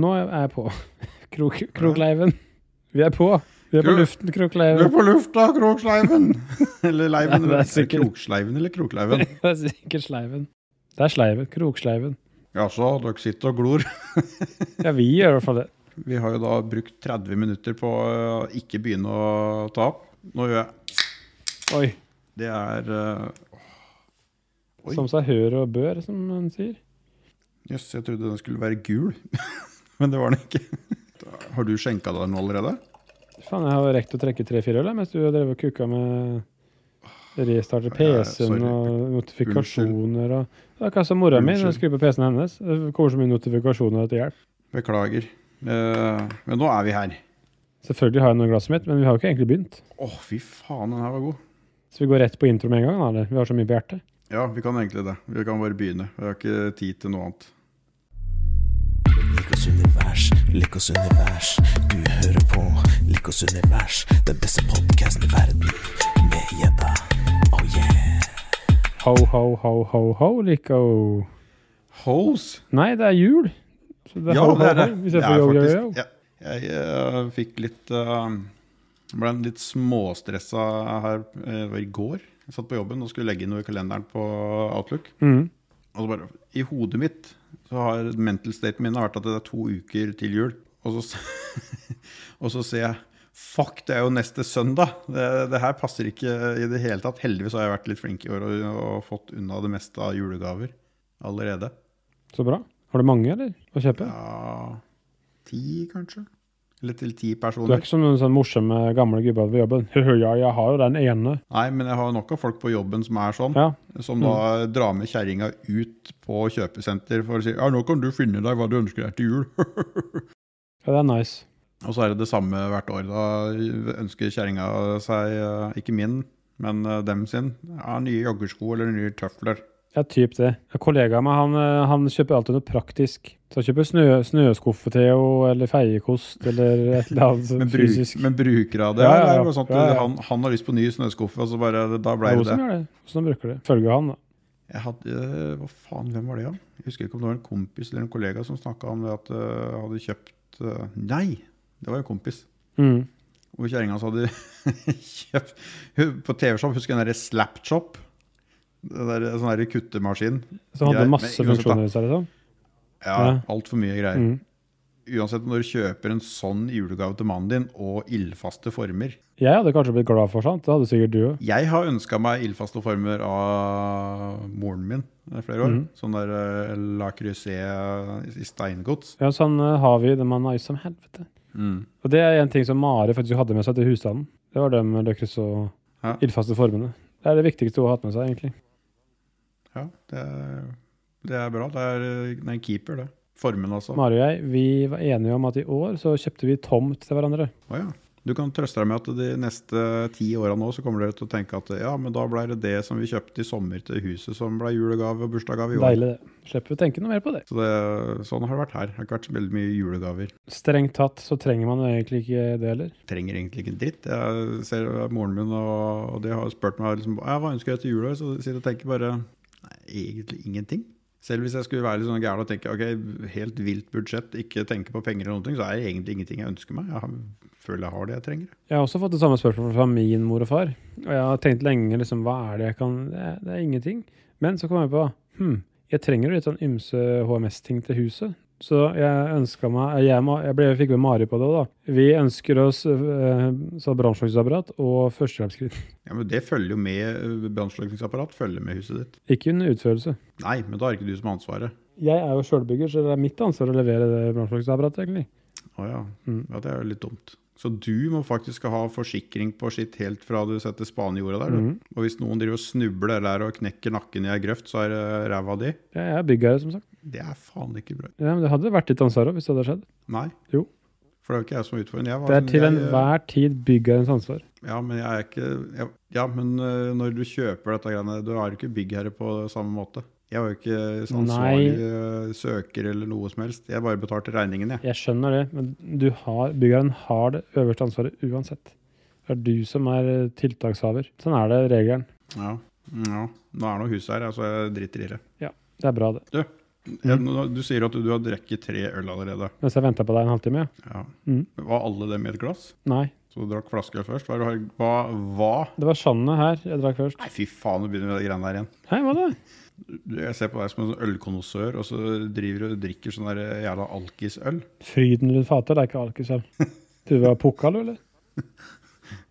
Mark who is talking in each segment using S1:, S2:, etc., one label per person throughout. S1: Nå er jeg på. Krok, Krokleiven. Vi er på. Vi er på
S2: Krok-
S1: luften,
S2: Du er
S1: Krokleiven.
S2: på lufta, Kroksleiven! Eller
S1: Nei,
S2: Leiven.
S1: det er
S2: eller-
S1: sikkert-
S2: Kroksleiven eller Krokleiven?
S1: Det er sikkert Sleiven. Det er Sleiven. Kroksleiven.
S2: Jaså, dere sitter og glor.
S1: Ja, vi gjør i hvert fall det.
S2: Vi har jo da brukt 30 minutter på å ikke begynne å ta opp. Nå gjør jeg
S1: Oi.
S2: Det er eh, Oi.
S1: Som seg hør og bør, som man sier.
S2: Jøss, jeg trodde den skulle være gul, men det var den ikke. Da- Har du skjenka deg den allerede?
S1: Faen, jeg har jo rekt å trekke tre-fire øl jeg, mens du drev og kuka med restarter
S2: Ja,
S1: PC-en
S2: sorry.
S1: og notifikasjoner og Det er kassa mora mi som
S2: Unnskyld.
S1: skrur på PC-en hennes. Det kommer så mye notifikasjoner til hjelp.
S2: Beklager. Eh, men nå er vi her.
S1: Selvfølgelig har jeg noe i glasset mitt, men vi har jo ikke egentlig begynt.
S2: Å, fy faen, den her var god.
S1: Så vi går rett på intro med en gang, da, eller? Vi har så mye på hjertet.
S2: Ja, vi kan egentlig det. Vi kan bare begynne. Vi har ikke tid til noe annet.
S3: Likos univers, Likos univers. Du hører på Likos univers, den beste podkasten i verden. Med gjedda. Oh yeah.
S1: Ho, ho, ho, ho, ho, like oh.
S2: Hoes?
S1: Nei, det er jul. Så det er
S2: Ja,
S1: ho, ho,
S2: det er det.
S1: ho, i
S2: Det
S1: stedet for
S2: er
S1: yo, yo,
S2: faktisk
S1: yo.
S2: ja. Jeg eh, fikk litt eh, Ble litt småstressa her eh, det var i går. Jeg satt på jobben og skulle legge inn noe i kalenderen på Outlook.
S1: Mm.
S2: Og så bare, I hodet mitt så har mental staten min har vært at det er to uker til jul. Og så, s- og så ser jeg Fuck, det er jo neste søndag! Det, det her passer ikke i det hele tatt. Heldigvis har jeg vært litt flink i år og, og fått unna det meste av julegaver allerede.
S1: Så bra. Har du mange, eller? Å kjøpe?
S2: Ja Ti, kanskje? Eller til ti
S1: Du er
S2: personer.
S1: ikke som noen sånn morsomme gamle gubber ved jobben. ja, jeg har jo den ene.
S2: Nei, men jeg har nok av folk på jobben som er sånn.
S1: Ja. Mm.
S2: Som da drar med kjerringa ut på kjøpesenter for å si Ja, nå kan du finne deg hva du ønsker deg til jul.
S1: ja, det er nice.
S2: Og så er det det samme hvert år. Da ønsker kjerringa seg, eh, ikke min, men eh, dem sin, ja, nye joggesko eller nye tøfler.
S1: Ja, typ det. En kollega av meg, han, eh, han kjøper alltid noe praktisk. Så han kjøper snø, snøskuffe til henne, eller feiekost, eller et eller annet
S2: Men,
S1: sånn
S2: bruk,
S1: fysisk.
S2: men bruker av det.
S1: Ja, ja,
S2: eller er det
S1: ja.
S2: bare sånn at
S1: Ja, ja.
S2: Han, han har lyst på ny snøskuffe, og så bare Da
S1: Det
S2: ble
S1: er
S2: det
S1: hun som
S2: det.
S1: gjør det. Hvordan bruker det? Følger han, da.
S2: Jeg hadde eh, Hva faen, hvem var det, da? Jeg husker ikke om det var en kompis eller en kollega som snakka om det at eh, hadde kjøpt eh, Nei, det var en kompis.
S1: Mm.
S2: Hvor kjerringa hans hadde kjøpt hun- På TV-shop, husker du den derre Slapchop? Den der, sånn der kuttemaskin.
S1: Så han
S2: Greit,
S1: hadde
S2: men
S1: masse
S2: uansett, da.
S1: funksjoner i seg, liksom.
S2: Ja,
S1: Ja.
S2: altfor mye greier.
S1: Mm.
S2: Uansett når du kjøper en sånn julegave til mannen din, og ildfaste former
S1: Jeg hadde kanskje blitt glad for sånt. Det hadde sikkert du òg.
S2: Jeg har ønska meg ildfaste former av moren min i
S1: Mm.
S2: flere år. Sånn der eh, La Crusée i steingods.
S1: Ja, sånn eh, har vi det man har som helvete.
S2: Mm.
S1: Og det er en ting som Mari faktisk hadde med seg til husstanden. Det var det med Løkkes og
S2: Ja.
S1: ildfaste formene. Det er det viktigste hun har hatt med seg, egentlig.
S2: Ja, det er, det er bra. Det er, eh, det er en keeper, det. Formen, altså. Å
S1: Mari og jeg vi var enige om at i år så kjøpte vi tomt til hverandre.
S2: ja. Du kan trøste deg med at de neste ti åra nå så kommer dere til å tenke at ja, men da ble det det som vi kjøpte i sommer til huset, som ble julegave og bursdagsgave i år.
S1: Deilig, det. Slipper å tenke noe mer på det.
S2: Så det, sånn har det vært her. Det har ikke vært så veldig mye julegaver.
S1: Strengt tatt så trenger man jo egentlig ikke det heller.
S2: Trenger egentlig ikke en dritt. Jeg ser moren min og, og de har spurt meg liksom, «Ja, hva ønsker jeg til jul. i år?» Så sier jeg tenker bare nei, egentlig ingenting. Selv hvis jeg skulle være litt sånn gæren og tenke ok, helt vilt budsjett, ikke tenke på penger, eller noen ting, så er det egentlig ingenting jeg ønsker meg. Jeg har, føler jeg har det jeg trenger.
S1: Jeg har også fått det samme spørsmålet fra min mor og far. Og jeg har tenkt lenge liksom, hva er det jeg kan Det er, det er ingenting. Men så kom jeg på hm, jeg trenger jo litt sånn ymse HMS-ting til huset. Så jeg ønska meg Jeg, må- jeg, ble, jeg fikk med Mari på det òg, da. Vi ønsker oss eh, så brannslukningsapparat og førstehjelpsskritt.
S2: Ja, men Det følger jo med eh, brannslukningsapparat, følger med huset ditt.
S1: Ikke under utførelse.
S2: Nei, men da er ikke du som har ansvaret.
S1: Jeg er jo sjølbygger, så det er mitt ansvar å levere det brannslukningsapparatet, egentlig.
S2: Å ja.
S1: Mm.
S2: ja, det er jo litt dumt. Så du må faktisk ha forsikring på skitt helt fra du setter spaden i jorda der, du.
S1: Mhm.
S2: Og hvis noen driver og snubler der og knekker nakken i ei grøft, så er det ræva di.
S1: Jeg er byggherre, som sagt.
S2: Det er faen ikke bra.
S1: Ja, men det hadde vært ditt ansvar òg, hvis det hadde skjedd.
S2: Nei.
S1: Jo.
S2: For det er jo ikke jeg som har utfordringen. Jeg var
S1: Det er
S2: sånn,
S1: til
S2: jeg- eh,
S1: enhver tid byggherrens ansvar.
S2: Ja, men jeg er ikke jeg, Ja, men øh, når du kjøper dette greiene, du er jo ikke byggherre på samme måte. Jeg var jo ikke ansvarlig øh, søker eller noe som helst. Jeg bare betalte regningen, jeg.
S1: Jeg skjønner det, men du har, byggeren har det øverste ansvaret uansett. Det er du som er eh, tiltakshaver. Sånn er det regelen.
S2: Ja. ja. Nå er nå huset her, så altså, jeg driter i det.
S1: Det er bra, det.
S2: Du, Ja, nå- du sier at du, du har drukket tre øl allerede.
S1: Mens jeg venta på deg en halvtime. ja.
S2: Ja.
S1: Mm.
S2: Var alle dem i et glass?
S1: Nei.
S2: Så du drakk flaskeøl først? Hva, er det du har- hva, hva?
S1: Det var Sjanne her jeg drakk først.
S2: Nei, fy faen, nå begynner vi med de greiene der igjen.
S1: Hei, hva da?
S2: Du, Jeg ser på deg som en sånn ølkonnissør, og så driver du og drikker sånn der jævla alkisøl.
S1: Frydenlund Fater, det er ikke alkisøl. Du var pokal, eller?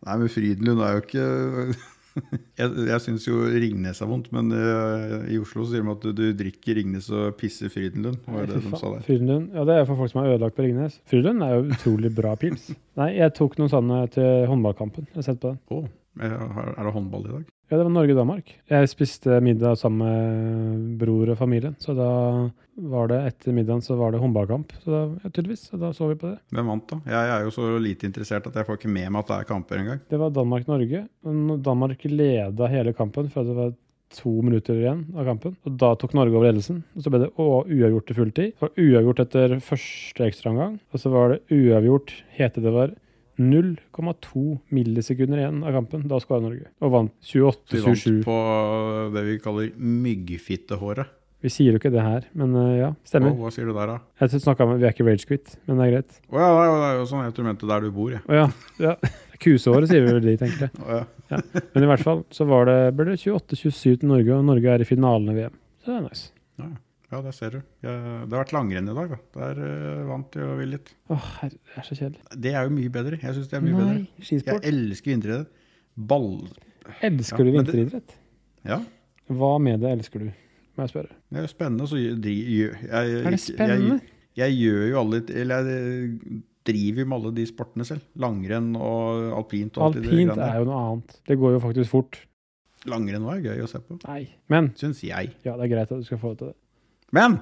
S2: Nei, men Frydenlund er jo ikke Jeg, jeg syns jo Ringnes er vondt, men eh, i Oslo så sier de at du, du drikker Ringnes og pisser Frydenlund. Var
S1: Nei,
S2: det det
S1: fy
S2: de sa
S1: faen.
S2: der?
S1: Frydenlund, ja, det er for folk som er ødelagt på Ringnes. Frydenlund er jo utrolig bra pils. Nei, jeg tok noen sånne til håndballkampen. Jeg har sett på den.
S2: Å, jeg Eh, har- er det håndball i dag?
S1: Ja, det var Norge-Danmark. Jeg spiste middag sammen med bror og familien, så da var det etter middagen så var det håndballkamp, så da, ja, tydeligvis. Så da så vi på det.
S2: Hvem vant, da? Jeg er jo så lite interessert at jeg får ikke med meg at det er kamper engang.
S1: Det var Danmark-Norge. og Danmark leda hele kampen fra det var to minutter igjen av kampen. Og da tok Norge over ledelsen. Og så ble det å- uavgjort til fulltid. Så var det uavgjort etter første ekstraomgang. Og så var det uavgjort hete det var 0,2 millisekunder igjen av kampen. Da skåra Norge. Og vant
S2: Vi vant
S1: 28-27.
S2: på øh, det vi kaller myggfittehåret.
S1: Vi sier jo ikke det her, men eh, ja,
S2: Hva,
S1: stemmer.
S2: hva sier du der, da?
S1: Jeg snakket med, Vi er ikke ragequit, men det er greit.
S2: Å ja, det er jo sånn jeg tror du mente der du bor, jeg.
S1: Å ja. ja. Kusehåret sier vi vel de, tenker jeg.
S2: Å, ja.
S1: Men i hvert fall så var det, ble det 28-27 til Norge, og Norge er i finalen i VM. Så det er nice.
S2: Ja, der ser du. Jeg, det har vært langrenn i dag, da. Der eh, vant jeg og vi litt.
S1: Åh, herre, det er så kjedelig.
S2: Det er jo mye bedre. Jeg syns det er mye bedre. Jeg
S1: skisport.
S2: elsker vinteridrett. Ball...
S1: Elsker du
S2: Ja, men det-
S1: vinteridrett?
S2: Ja.
S1: Hva med det elsker du? Må jeg spørre.
S2: Det er jo spennende, så gjør jeg, jeg,
S1: Er det spennende?
S2: Jeg, jeg gjør jo alle Eller jeg øh, driver jo med alle de sportene selv. Langrenn og alpint og alt det
S1: Alpint
S2: greiene der.
S1: er jo noe annet. Det går jo faktisk fort.
S2: Langrenn var gøy å se på,
S1: Nei. Men
S2: syns jeg.
S1: ja, det er greit at du skal få til det.
S2: Men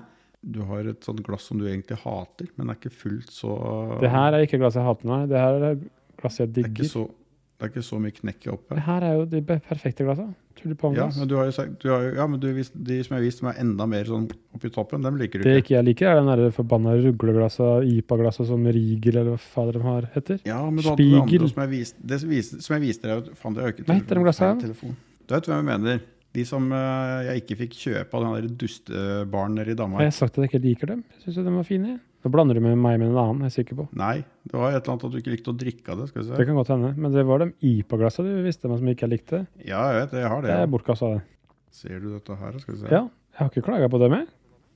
S2: du har et sånt glass som du egentlig hater, men er ikke fullt så
S1: Det her er ikke glasset jeg hater, nei. Det her er glasset jeg
S2: det er ikke
S1: digger.
S2: så, det er ikke så mye knekk i oppe.
S1: Det her er jo de be- perfekte glassa.
S2: Ja,
S1: Tulipanglass.
S2: men du har jo sagt du har jo, Ja, men du, vis- de som jeg har vist, som er enda mer sånn oppi toppen, dem liker du
S1: det
S2: ikke.
S1: ikke jeg liker, er den der forbanna rugleglassa, IPA-glassa som Rigel eller hva fader de har, heter.
S2: Ja, men du hadde det andre
S1: Spiegel.
S2: som jeg viste, det som viste, som jeg viste deg Faen, det har jo ikke
S1: Hva heter de glassene?
S2: feil telefon. Du vet hvem jeg mener? De som eh, jeg ikke fikk kjøpe av den der dustebaren nede
S1: Har
S2: i Danmark.
S1: jeg sagt at jeg ikke liker dem? Jeg syns jo de var fine. jeg. Nå blander du med meg med en annen, jeg er sikker på.
S2: Nei, det var et eller annet at du ikke likte å drikke av det. skal
S1: Det
S2: vi se.
S1: kan godt hende. Men det var de IPA-glassa du visste meg som ikke jeg likte.
S2: Ja, jeg vet det. Jeg har
S1: Det
S2: det.
S1: er
S2: Ja.
S1: bortkasta, det.
S2: Ser du dette her? Skal vi se.
S1: Ja. Jeg har ikke klaga på dem, jeg.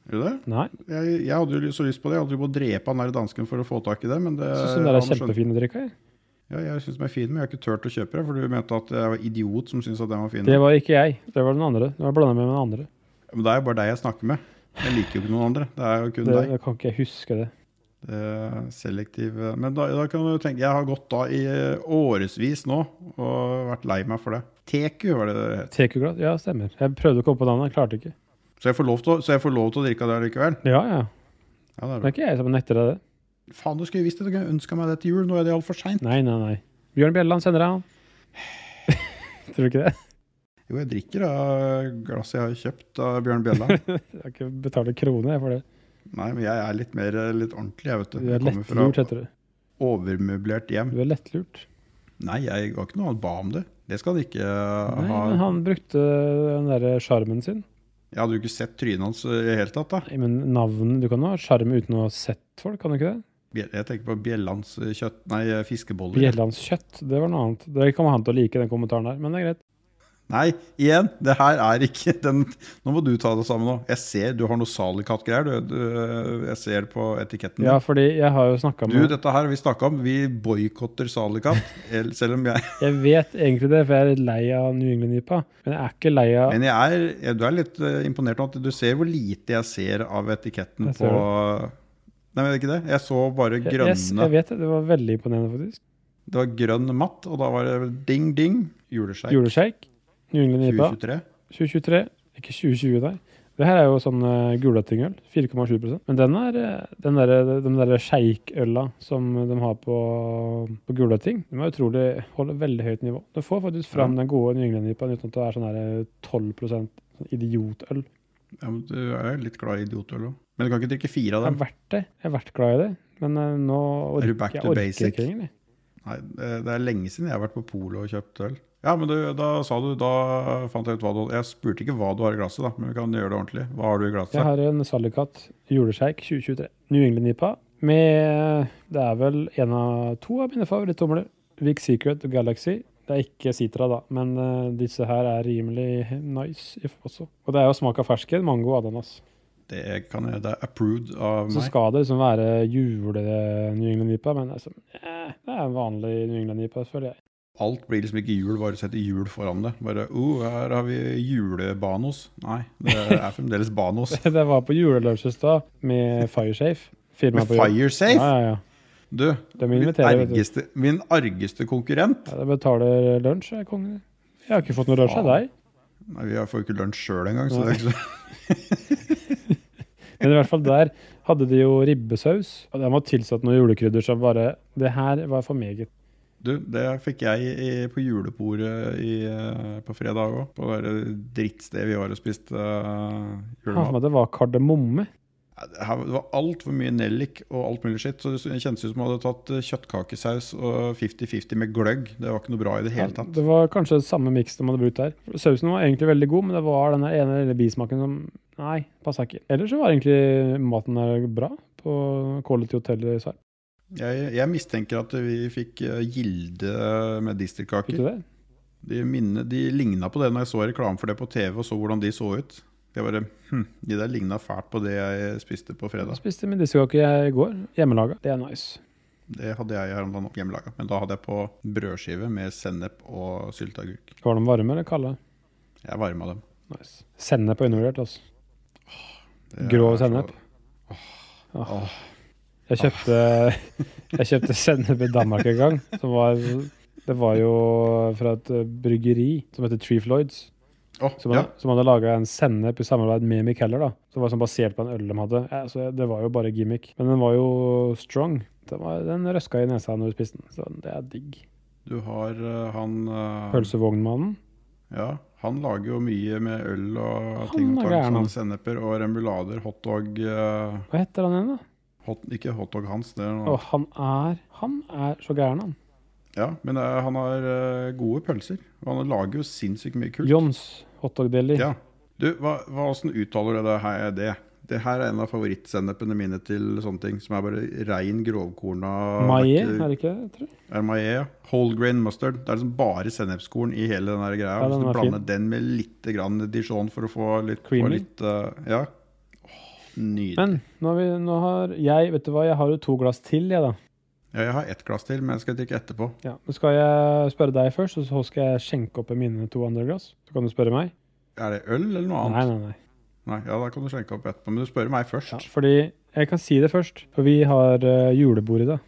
S2: Gjør du det?
S1: Nei.
S2: Jeg, jeg hadde jo så lyst på det. Jeg hadde jo på å drepe han der dansken for å få tak i det. Eh, men det...
S1: Jeg syns de der er
S2: han skjønte-
S1: kjempefine å drikke. Jeg.
S2: Ja, jeg synes de er fine, men jeg har ikke turt å kjøpe det, for du mente at jeg var idiot som syntes at den var fin.
S1: Det var ikke jeg. Det var den andre. Det var blanda med den andre.
S2: Men det er jo bare deg jeg snakker med. Jeg liker jo ikke noen andre. Det er jo kun
S1: Det,
S2: deg.
S1: det kan ikke jeg huske det.
S2: Det er selektiv eh, Men da, da kan du tenke Jeg har gått da i eh, årevis nå og vært lei meg for det. Teku var det det het.
S1: TQ-glass? Ja, stemmer. Jeg prøvde å komme på navnet, jeg klarte ikke.
S2: Så jeg får lov til å, så jeg får lov til å drikke av det likevel?
S1: Ja, ja.
S2: Ja, det er
S1: Det
S2: bra.
S1: er ikke jeg som nekter deg det.
S2: Faen, du skulle jo visst det. Du kunne ønska meg det til jul. Nå er det altfor seint.
S1: Nei, nei, nei. Bjørn Bjelland sender deg, han. Tror du ikke det?
S2: Jo, jeg drikker av glasset jeg har kjøpt av Bjørn Bjella.
S1: Jeg har ikke betalt en krone jeg, for det.
S2: Nei, men jeg er litt mer eh, litt ordentlig, jeg, vet du.
S1: Du er
S2: Jeg kommer fra
S1: lettlurt, heter det.
S2: overmøblert hjem.
S1: Du er lettlurt.
S2: Nei, jeg var ikke noe annet ba om det. Det skal han ikke eh,
S1: Nei,
S2: ha.
S1: men han brukte den derre sjarmen sin.
S2: Jeg hadde jo ikke sett trynet hans eh, i det hele tatt, da.
S1: Nei, men navn Du kan jo ha sjarm uten å ha sett folk, kan du ikke det?
S2: Bjell- Jeg tenker på Bjellands eh, kjøtt... Nei, eh, fiskeboller.
S1: Bjellands kjøtt, det var noe annet. Det kan han til å like, den kommentaren der, men det er greit.
S2: Nei, igjen, det her er ikke den Nå må du ta det sammen nå. Jeg ser du har noe Salicat-greier. Du, du, jeg ser det på etiketten.
S1: Ja, fordi jeg har jo snakka
S2: Mm. Du,
S1: med
S2: dette her vi snakka om, vi boikotter Salicat. el- Selv om jeg
S1: Jeg vet egentlig det, for jeg er litt lei av New England IPA. Men jeg er ikke lei av
S2: Men jeg er, jeg- du er litt eh, imponert nå at du ser hvor lite jeg ser av etiketten
S1: Jeg ser
S2: på Nei, men det er ikke det. Jeg så bare
S1: jeg, jeg,
S2: grønne.
S1: jeg vet det, det var veldig imponerende, faktisk.
S2: Det var grønn matt, og da var det ding, ding. Juleskjær.
S1: Juleshake, New England IPA
S2: 2023.
S1: 2023. Ikke 2020, nei. Det her er jo sånn uh, gulatingøl. 4,7 Men den er eh, den der, de der sjeikøla som de har på, på Gulating, de er utrolig, holder veldig høyt nivå. Du får faktisk fram den gode New England-nipaen uten at det er sånn her eh, 12 sånn idiotøl.
S2: Ja, men du er jo litt glad i idiotøl òg. Men du kan ikke drikke fire av
S1: Jeg har
S2: dem.
S1: vært det. Jeg har vært glad i det. Men eh, nå
S2: Er
S1: orker
S2: du back
S1: jeg
S2: to
S1: orker
S2: basic?
S1: ikke lenger. jeg.
S2: eh, Nei, det det er lenge siden jeg har vært på polet og kjøpt øl. Ja, men du, da sa du Da fant jeg ut hva du Jeg spurte ikke hva du har i glasset, da, men vi kan gjøre det ordentlig. Hva har du i
S1: Jeg
S2: glasset?
S1: har en Sallikat julesjeik 2023. New England-nipa med Det er vel en av to av mine favoritttomler. Vic Secret og Galaxy. Det er ikke Citra, da, men eh, disse her er rimelig nice if- også. Og det er jo smak av fersken, mango og ananas.
S2: Det, kan jeg, det er approved av
S1: Så
S2: meg.
S1: skal det liksom være jule-New England-nipa, men altså, eh, det er en vanlig New England-nipa, føler jeg.
S2: Alt blir liksom ikke jul, bare setter jul foran det. Bare oh, her har vi julebanos. Nei, det er fremdeles banos.
S1: Det var på julelunsj i stad med Firesafe. firmaet
S2: Med
S1: på jobb. Ja,
S2: Firesafe!
S1: ja, ja.
S2: Du,
S1: De
S2: min
S1: inviterer, vet du.
S2: argeste, min argeste konkurrent.
S1: Ja, Jeg betaler lunsj, jeg, kongen. Jeg har ikke fått noe lunsj av deg.
S2: Nei, vi får jo ikke lunsj sjøl engang, så det er ikke så
S1: Men i hvert fall der hadde de jo ribbesaus, og den var tilsatt noen julekrydder som bare Det her var for meget.
S2: Du, det fikk jeg i, på julebordet i, eh, på fredag òg. På det der drittstedet vi var og spiste eh,
S1: Han for
S2: julemat.
S1: meg det var kardemomme.
S2: Nei, Det her- det var altfor mye nellik og alt mulig skitt. Så det kjentes ut som om jeg hadde tatt eh, kjøttkakesaus og 50-50 med gløgg. Det var ikke noe bra i det hele tatt.
S1: Det var kanskje samme miks de hadde brukt der. Sausen var egentlig veldig god, men det var den der ene lille bismaken som Nei, passa ikke. Ellers så var egentlig maten der bra, på Quality Hotel i Sarp.
S2: Jeg, jeg mistenker at vi fikk eh, Gilde med
S1: Fikk
S2: distelkaker.
S1: du det?
S2: De, minne- de ligna på det når jeg så reklame for det på TV og så hvordan de så ut. Jeg bare, hm, De der ligna fælt på det jeg spiste på fredag.
S1: Jeg spiste medisterkake i går. Hjemmelaga. Det er nice.
S2: Det hadde jeg her om dagen hjemmelaga. Men da hadde jeg på brødskive med sennep og sylteagurk.
S1: Var de varme eller kalde?
S2: Jeg varma dem.
S1: Nice. Sennep er undervurdert, altså.
S2: Det
S1: Grå
S2: er så-
S1: sennep? Jeg kjøpte, jeg kjøpte sennep i Danmark en gang. Som var, det var jo fra et eh, bryggeri som heter Tree Floyds.
S2: Åh,
S1: Som
S2: ja.
S1: hadde, som hadde laga en sennep i samarbeid med Micheller. da, Som var sånn basert på en øl de hadde. Ja, så det var jo bare gimmick. Men den var jo strong. Den, var, den røska i nesa når du spiste den. Så det er digg.
S2: Du har eh, han eh,
S1: Pølsevognmannen.
S2: Ja, han lager jo mye med øl og
S1: Han
S2: ting og
S1: er
S2: tang.
S1: gæren, han.
S2: Sånne senneper og remulader, hotdog eh,
S1: Hva heter han igjen, da?
S2: hot, Ikke hotdog hans, det er
S1: Å,
S2: noe.
S1: han er Han er så gæren, han.
S2: Ja, men eh, han har eh, gode pølser. Og han lager jo sinnssykt mye kult.
S1: Johns hotdog-deli.
S2: Ja. Du, hva, hva, hvordan uttaler du det her? eh, Det? det her er en av favorittsennepene mine til sånne ting. Som er bare rein grovkorna
S1: Maillet,
S2: ikke-
S1: er det ikke det? Tror jeg?
S2: Er Maillet, ja. Whole grain mustard. Det er liksom bare sennepskorn i hele den der greia.
S1: Ja, den
S2: Hvis du
S1: er
S2: blander den med litt grann dijon for å få litt få
S1: Creamy.
S2: Litt, eh, ja. Åh, nydelig.
S1: Men nå har, vi, nå har jeg Vet du hva, jeg har jo to glass til, jeg, da.
S2: ja, jeg har ett glass til, men jeg skal drikke etterpå.
S1: Ja, men Skal jeg spørre deg først, og så skal jeg skjenke opp mine to andre glass? Så kan du spørre meg?
S2: Er det øl eller noe
S1: Nei,
S2: annet?
S1: nei, nei.
S2: Nei, ja, Da kan du skjenke opp etterpå. Men du spør meg
S1: Ja,
S2: først.
S1: fordi jeg kan si det først, for vi har eh, julebord i dag.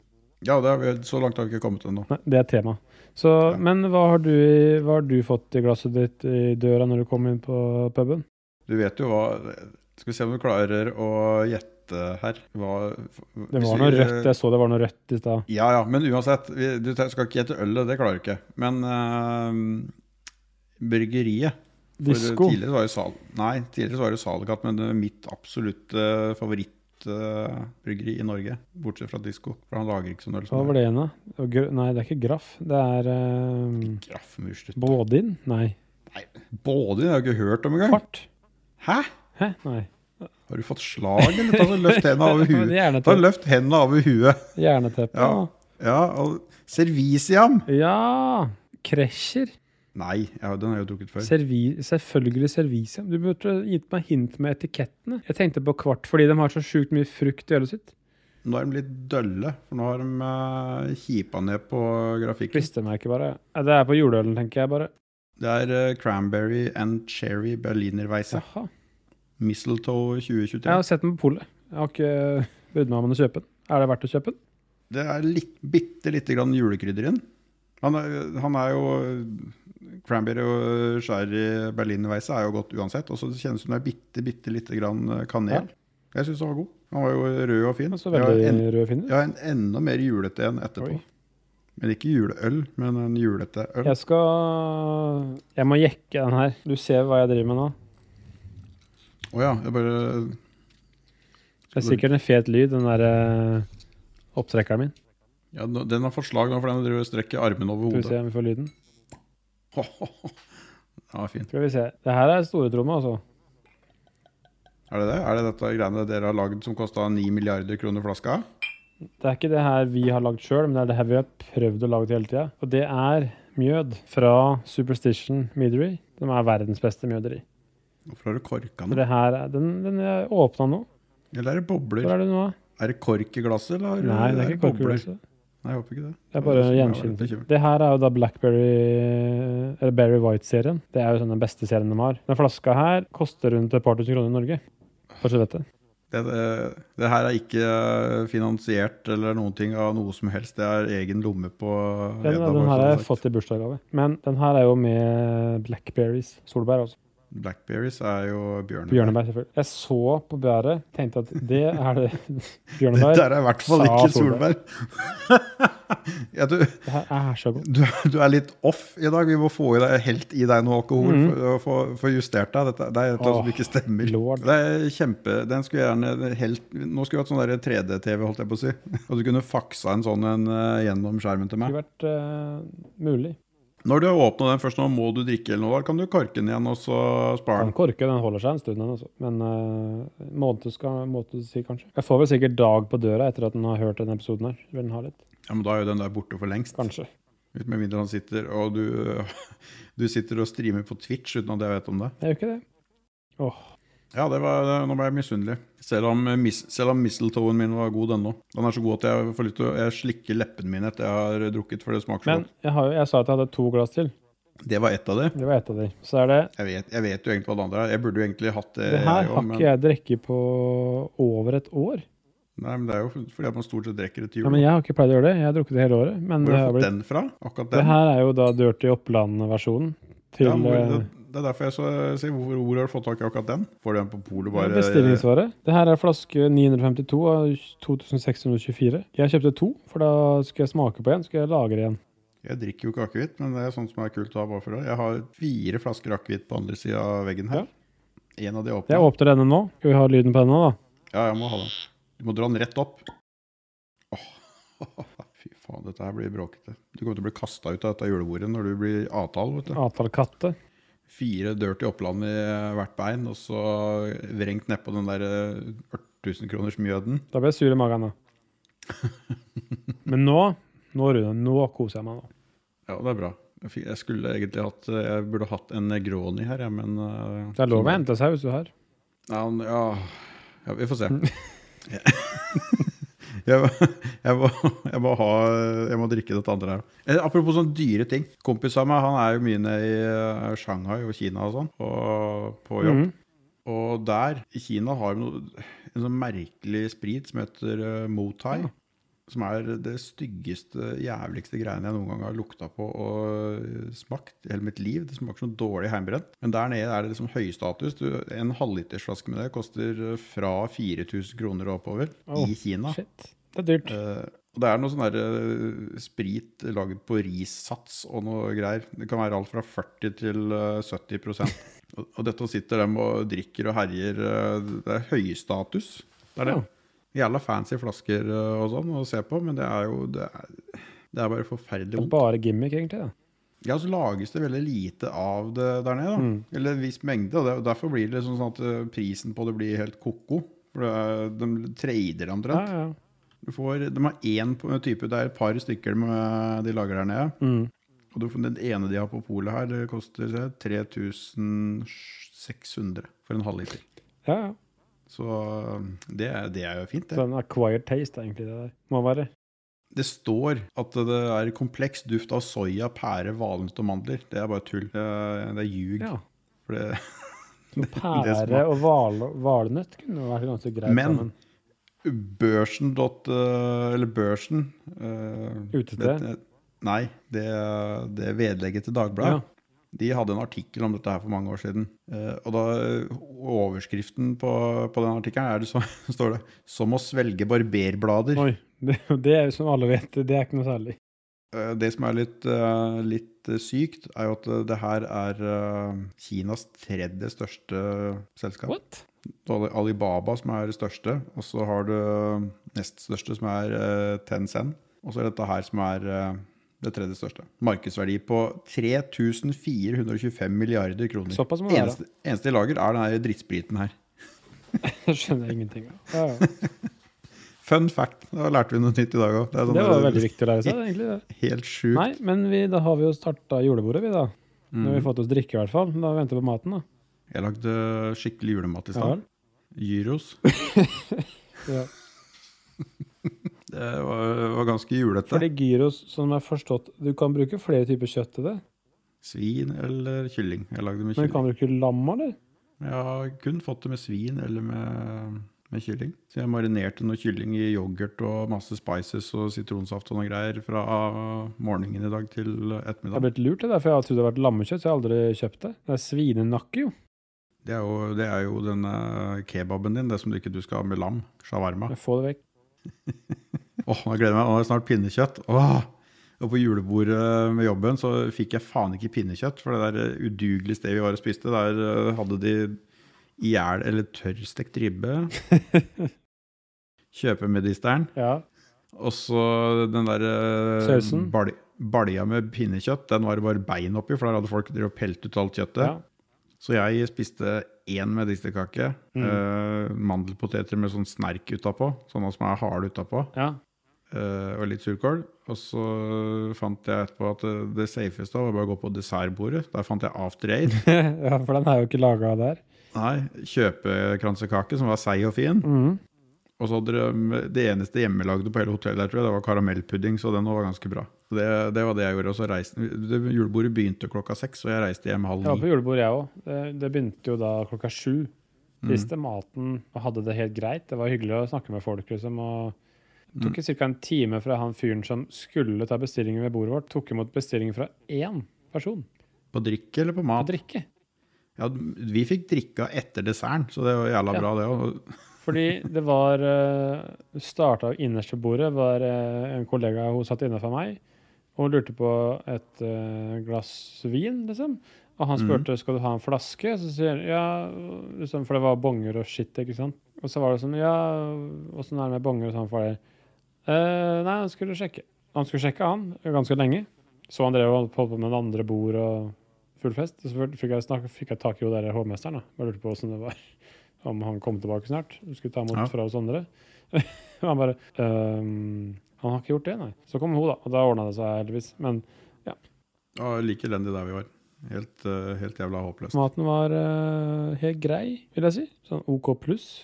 S2: Ja, det har vi, Så langt har vi ikke kommet ennå.
S1: Nei, det er tema. Så,
S2: Ja.
S1: Men hva har, du, i- hva har du fått i glasset ditt i døra når du kom inn på puben?
S2: Du vet jo hva Skal vi se om du klarer å gjette her. Hva,
S1: Det var noe rødt, jeg så det var noe rødt i stad.
S2: Ja, ja, men uansett. Vi, du te- skal ikke gjette ølet, det klarer du ikke. Men eh, bryggeriet for
S1: Disko.
S2: Tidligere var jo sal, nei, tidligere så var det Salekatt, men det er mitt absolutte favorittbryggeri i Norge. Bortsett fra Disko, for han lager ikke sånn øl.
S1: Hva
S2: som
S1: var det igjen, da? Det var gr- Nei, det er ikke Graff. Det er eh,
S2: Graffmurslutt.
S1: Bådin? Nei.
S2: Både, jeg har ikke hørt om engang.
S1: Fart?
S2: Hæ?
S1: Hæ? Nei.
S2: Har du fått slag, eller? Ta så løft henda over
S1: Det var
S2: huet. Ta
S1: Jerneteppe.
S2: løft henda over huet.
S1: Jerneteppe.
S2: Ja. Ja, og Servisiam!
S1: ja. Kresjer.
S2: Nei, ja, den har jeg jo drukket før.
S1: Servi, selvfølgelig servisium. Du burde gitt meg hint med etikettene. Jeg tenkte på kvart fordi de har så sjukt mye frukt i ølet sitt.
S2: Nå er de litt dølle, for nå har de eh, kipa ned på grafikken.
S1: Klistremerke, bare. Ja, Det er på juleølen, tenker jeg bare.
S2: Det er eh, cranberry and cherry berlinerweisse.
S1: Jaha.
S2: Mistletoe 2023.
S1: Jeg har sett den på polet. Jeg har ikke brydd meg om å kjøpe den. Er det verdt å kjøpe den?
S2: Det er litt, bitte lite grann julekrydder inn. Han er, han er jo Cranberry og sherry berlinerweisse er jo godt uansett. Og så kjennes det som det er bitte, bitte lite grann eh, kanel. Jeg syns han var god. Han var jo rød og fin.
S1: Altså,
S2: Jeg har
S1: veldig
S2: en,
S1: rød fin.
S2: jeg har en enda mer julete en etterpå.
S1: Oi.
S2: Men ikke juleøl, men en julete øl.
S1: Jeg skal Jeg må jekke den her. Du ser hva jeg driver med nå.
S2: Å ja, jeg bare
S1: Det er sikkert en fet lyd, den der eh, opptrekkeren min.
S2: ja, Den har fått slag nå, for den driver og strekker armene
S1: Skal
S2: over
S1: vi
S2: hodet.
S1: se om vi får lyden.
S2: Den var fin.
S1: Skal vi se. Det her er stortromme, altså.
S2: Er det det? Er det dette greiene dere har lagd som kosta 9 milliarder kroner flaska?
S1: Det er ikke det her vi har lagd sjøl, men det er det her vi har prøvd å lage hele tida. Og det er mjød fra Superstition Meadery, som er verdens beste mjøderi.
S2: Hvorfor har du korka
S1: For
S2: den?
S1: det her, er- den, den er åpna nå.
S2: Eller er det bobler?
S1: Hvor er du nå?
S2: Er det kork i glasset, eller? har du-
S1: Nei, det er ikke
S2: bobler?
S1: korkuglasset.
S2: Nei, jeg håper ikke det.
S1: Det er bare
S2: som jeg var litt
S1: gjenkinn.
S2: bekymret.
S1: Det her er jo da Blackberry Eller Berry White-serien. Det er jo sånn den beste serien de har. Den flaska her koster rundt et par tusen kroner i Norge. Bare så du vet det.
S2: Det, det, det her er ikke eh, finansiert eller noen ting av noe som helst. Det er egen lomme på
S1: Den,
S2: Edda,
S1: den her
S2: bare for å
S1: har
S2: ha
S1: jeg
S2: sagt.
S1: fått i bursdagsgave. Men den her er jo med blackberries. Solbær, altså.
S2: Blackberries er jo bjørnebær.
S1: Bjørnebær, selvfølgelig. Jeg så på bæret, tenkte at det er det
S2: Dette
S1: Bjørnebær.
S2: er i hvert fall
S1: sa
S2: ikke
S1: Solberg.
S2: solbær. ja, du,
S1: Det her er så godt.
S2: du, du er litt off i dag. Vi må få i deg, helt i deg noe alkohol
S1: Mhm.
S2: for å få få justert deg. Dette, det er et eller annet som
S1: Åh,
S2: ikke stemmer.
S1: lord.
S2: Det er kjempe, den skulle jeg gjerne helt, Nå skulle vi hatt sånn der 3D-TV, holdt jeg på å si. Og du kunne faksa en sånn en, eh, gjennom skjermen til
S1: Det
S2: meg.
S1: skulle vært eh, mulig.
S2: Når du har åpna den først, nå må du drikke eller noe, da kan du korke den igjen og så spare
S1: Den
S2: den.
S1: korker, den holder seg en stund, den også. Men uh, måned skal måned si, kanskje. Jeg får vel sikkert dag på døra etter at den har hørt denne episoden her. Vil den ha litt?
S2: Ja, men da er jo den der borte for lengst.
S1: Kanskje.
S2: Ut Med mindre han sitter og du, du sitter og streamer på Twitch uten at jeg vet om det.
S1: Det er jo ikke det. Åh,
S2: Ja, det var, nå ble jeg misunnelig. Selv om, eh, mis, selv om mistletoen min var god ennå. Den er så god at jeg får lyst til å jeg slikker leppene mine etter jeg har drukket, for det smaker så
S1: Men
S2: godt.
S1: jeg, har, jo- jeg sa at jeg hadde to glass til.
S2: Det var ett av de.
S1: Det var ett av de. Så er det
S2: Jeg vet, jeg vet jo egentlig hva det andre er. Jeg burde jo egentlig hatt det.
S1: Det her
S2: jeg også,
S1: har
S2: Eh, men-
S1: ikke jeg drukket på over et år.
S2: Nei, men det er jo fordi at man stort sett drikker det til
S1: Ja,
S2: jul.
S1: men Jeg har ikke pleid å gjøre det. Jeg har drukket det hele året. Men det,
S2: Hvor har
S1: har
S2: du fått
S1: blitt,
S2: den fra? Akkurat
S1: det
S2: den?
S1: her er jo da Dirty Oppland-versjonen. Til
S2: ja, hvor, det,
S1: eh,
S2: det er derfor jeg så, sier hvor, hvor har du fått tak i akkurat den? Får du den på polet bare
S1: bestillingsvare. Det her er flaske 952 av 2624. Jeg kjøpte to, for da skulle jeg smake på en, skulle jeg lagre en.
S2: Jeg drikker jo ikke akevitt, men det er sånt som er kult å ha bare for det. Jeg har fire flasker akevitt på andre sida av veggen her. En av de er åpne.
S1: Jeg åpner denne nå. Skal vi ha lyden på denne, da?
S2: Ja, jeg må ha den. Du må dra den rett opp. Åh. Fy faen, dette her blir bråkete. Du kommer til å bli kasta ut av dette julebordet når du blir avtale. vet du.
S1: Avtalekatte.
S2: Fire dirty Oppland i hvert bein, og så vrengt nedpå den der eh, 1000 kroners mjøden.
S1: Da ble jeg sur i magen, da. Men nå, nå, Rune, nå koser jeg meg. nå.
S2: Ja, det er bra. Jeg fikk- Jeg skulle egentlig hatt eh, Jeg burde hatt en Negroni her, jeg, men eh,
S1: Det er lov å hente seg hvis du har.
S2: Ja, han- ja. ja vi får se. Jeg må, jeg, må, jeg, må ha, jeg må drikke dette andre her. Eh, Apropos sånne dyre ting. Kompis av meg han er jo mye nede i eh, Shanghai og Kina og sånn, og på jobb.
S1: Mhm.
S2: Og der, i Kina, har de noe, en sånn merkelig sprit som heter uh, Motai. Som er det styggeste, jævligste greiene jeg noen gang har lukta på og eh, smakt i hele mitt liv. Det smaker som dårlig heimbrent. Men der nede er det liksom høystatus. Du, en halvlitersflaske med det koster eh, fra 4000 kroner og oppover
S1: Åh,
S2: i Kina.
S1: Shit. Det er dyrt.
S2: Eh, og det er noe sånn der eh, sprit lagd på rissats og noe greier. Det kan være alt fra 40 til eh, 70 og, og dette sitter dem og drikker og herjer. eh, det er høystatus. Det er det.
S1: Ja.
S2: Jævla fancy flasker eh, og sånn å se på, men det er jo Det er, det er bare
S1: Det
S2: forferdelig
S1: er
S2: vondt.
S1: bare gimmick, egentlig. da.
S2: Ja, så lages det veldig lite av det der nede, da. Eller en viss mengde. Og det, og derfor blir det liksom sånn at eh, prisen på det blir helt ko-ko. For det er, de trader det omtrent.
S1: Ja, ja.
S2: Du får, de har én på- type, det er et par stykker de, de lager der nede.
S1: Mm.
S2: Og du, får- den ene de har på polet her, det koster se, 3600 for en halvliter.
S1: ja, ja.
S2: Så det, er- det er jo fint,
S1: Så
S2: det.
S1: en acquired taste, er egentlig, det der. Må være.
S2: Det står at det er kompleks duft av soya, pære, valnøtt og mandler. Det er bare tull. Det er, det er ljug.
S1: Ja.
S2: For det,
S1: Så
S2: det som
S1: pære
S2: er-
S1: og val- valnøtt kunne vært ganske greit
S2: Men-
S1: sammen.
S2: Børsen. dot, eh, Eller Børsen eh,
S1: Utested?
S2: det- Nei, det, det vedlegget til Dagbladet.
S1: Ja.
S2: De hadde en artikkel om dette her for mange år siden. Eh, og da Overskriften på, på den artikkelen er det så, står det 'Som å svelge barberblader'.
S1: Oi. Det, det er jo som alle vet, det er ikke noe særlig.
S2: Eh, det som er litt, eh, litt eh, sykt, er jo at eh, det her er eh, Kinas tredje største selskap.
S1: What?
S2: Du har Alibaba, som er det største, og så har du nest største, som er eh, Tencent. Og så er dette her som er eh, Det tredje største. Markedsverdi på 3425 milliarder kroner.
S1: Såpass må det være.
S2: eneste, eneste i lager er denne drittspriten her.
S1: Det skjønner jeg ingenting av. Ja,
S2: Sånn
S1: ja.
S2: Fun fact. Da lærte vi noe nytt i dag òg.
S1: Det var veldig viktig å lære seg, egentlig. det.
S2: sånn Helt sjukt.
S1: Nei, men vi, da har vi jo starta julebordet, vi, da. Nå
S2: Mm.
S1: har vi fått oss drikke, i hvert fall. Da venter vi på maten, da.
S2: Jeg lagde skikkelig julemat
S1: Ja
S2: i stad.
S1: vel.
S2: Gyros.
S1: Ja.
S2: Det var, var ganske julete.
S1: Fordi gyros, som jeg har forstått Du kan bruke flere typer kjøtt til det.
S2: Svin eller kylling. Jeg lagde med
S1: Men du
S2: kylling.
S1: kan bruke lam, eller?
S2: Jeg har kun fått det med svin eller med, med kylling. Så jeg marinerte noe kylling i yoghurt og masse spices og sitronsaft og noe greier fra morgenen i dag til
S1: Jeg har
S2: ettermiddag.
S1: blitt lurt, det der, for jeg har trodd det har vært lammekjøtt, så jeg har aldri kjøpt det. Det er svinenakke, jo.
S2: Det er jo, det er jo denne kebaben din, det som du ikke du skal ha med lam. Shawarma.
S1: Men Få det vekk.
S2: Åh, nå gleder jeg meg. Nå er det snart pinnekjøtt. Åh! Og på julebordet med jobben så fikk jeg faen ikke pinnekjøtt, for det der udugelige stedet vi var og spiste, der eh, hadde de ihjel eller tørrstekt ribbe. Kjøpemedisteren.
S1: Ja.
S2: Og så den der eh,
S1: Sausen.
S2: bal- balja med pinnekjøtt, den var det bare bein oppi, for der hadde folk drevet og pelt ut alt kjøttet.
S1: ja.
S2: Så jeg spiste én medisterkake, eh, mandelpoteter med sånn snerk utapå, sånne som er harde utapå,
S1: ja.
S2: eh, og litt surkål. Og så fant jeg etterpå at eh, det- det safeste var bare å gå på dessertbordet. Der fant jeg After Aid.
S1: ja, for den er jo ikke laga der.
S2: Nei, kjøpekransekake som var seig og fin.
S1: Mhm.
S2: Og så hadde de, det eneste hjemmelagde på hele hotellet, der, tror jeg, det var karamellpudding, så den var ganske bra. Så Det, det var det jeg gjorde. Og så reiste, det, julebordet begynte klokka seks, og jeg reiste hjem halv
S1: Jeg var
S2: ni.
S1: på julebord, jeg òg. Det, det begynte jo da klokka sju. Spiste maten og hadde det helt greit. Det var hyggelig å snakke med folk, liksom. og det tok ca. en time fra han fyren som skulle ta bestillingen ved bordet vårt, tok imot bestilling fra én person
S2: På drikke eller på
S1: å
S2: mat?
S1: drikke.
S2: Ja, vi fikk drikka etter desserten, så det var jævla
S1: Ja.
S2: bra, det òg.
S1: Fordi det var uh, Starta innerst ved bordet, var eh, en kollega hun satt inne for meg. Og hun lurte på et eh, glass vin, liksom. Og han spurte skal du ha en flaske. Så sier han ja, liksom, for det var bonger og shit. ikke sant? Og så var det sånn ja, åssen er det med bonger og sånn for deg? Eh, nei, han skulle sjekke. Han skulle sjekke, han, ganske lenge. Så han drev og holdt på med den andre bord og full fest. Så fikk jeg, snak, fikk jeg tak i hun der hovmesteren. da. Bare lurte på åssen det var. Om han kom tilbake snart. Skulle ta imot
S2: Ja.
S1: fra oss andre. Og han bare «Øhm, Han har ikke gjort det, nei. Så kom hun, da. Og da ordna det seg heldigvis. Men
S2: Og like elendig der vi var. Helt, eh, helt jævla håpløst.
S1: maten var eh, helt grei, vil jeg si. Sånn OK pluss.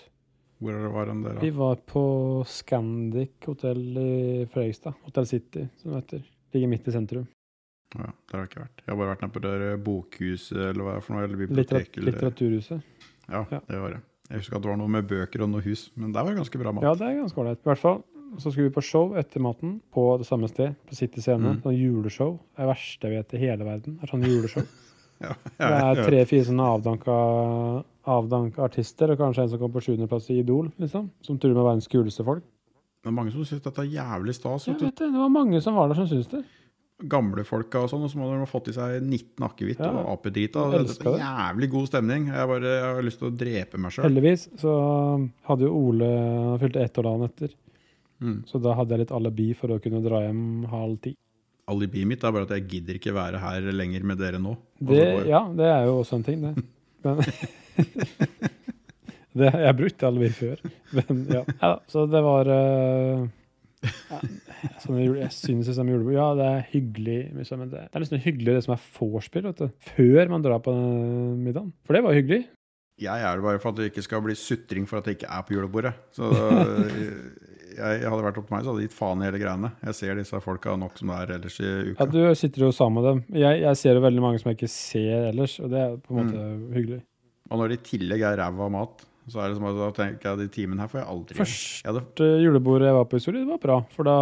S2: Hvor er det var den der,
S1: Vi
S2: da?
S1: var på Scandic hotell i Fredrikstad. Hotell City, som det heter. Ligger midt i sentrum.
S2: Å Ja, der har jeg ikke vært. Jeg har bare vært nede på det der bokhuset eller hva det er for noe, eller biblioteket.
S1: Litterat
S2: Eller,
S1: litteraturhuset.
S2: ja,
S1: ja.
S2: det var det. Jeg husker at det var noe med bøker og noe hus, men der var det ganske bra mat.
S1: Ja, det er ganske ålreit. I hvert fall så skulle vi på show etter maten på det samme sted, på City Scene.
S2: Mm.
S1: Sånn juleshow. Det er det verste jeg vet i hele verden. er sånn juleshow.
S2: Ja,
S1: Det
S2: jeg-
S1: er
S2: jeg-
S1: tre-fire sånne avdanka, avdanka artister, og kanskje en som kom på sjuendeplass i Idol, liksom. Som tror de er verdens kuleste folk.
S2: Det er mange som syns dette er jævlig stas.
S1: Jeg
S2: vet du.
S1: vet det, det var mange som var der som syntes det.
S2: Gamlefolka og sånn, og så må de ha fått i seg 19 akevitt
S1: Ja.
S2: og
S1: Jeg
S2: apedrita. og Det
S1: elsker
S2: er
S1: det.
S2: jævlig god stemning. Jeg, bare, jeg har lyst til å drepe meg sjøl.
S1: Heldigvis så hadde jo Ole Han fylte ett år dagen etter.
S2: Mm.
S1: Så da hadde jeg litt alibi for å kunne dra hjem halv ti.
S2: Alibiet mitt er bare at jeg gidder ikke være her lenger med dere nå. Og så
S1: Det,
S2: går-
S1: ja, det er jo også en ting, det. Men, det jeg har brukt alibi før. Men ja. Neida, så det var eh, ja, sånne jule, Jeg syns det som julebord Ja, det er hyggelig, liksom, men det, det er nesten hyggelig det som er vorspiel, vet du. Før man drar på den middagen. For det var hyggelig.
S2: Jeg er det bare for at det ikke skal bli sutring for at jeg ikke er på julebordet. Så jeg, jeg hadde vært opp til meg, så hadde jeg gitt faen i hele greiene. Jeg ser disse folka nok som det er ellers i
S1: Ja,
S2: uka.
S1: du sitter jo sammen med dem. Jeg, jeg ser jo veldig mange som jeg ikke ser ellers, og det er på en måte hyggelig.
S2: Og når det i tillegg er ræva mat, så er det som at da tenker jeg de timene her får jeg aldri igjen.
S1: Først
S2: Jeg hadde
S1: første julebordet eh, jeg var på i Soli, det var bra. For da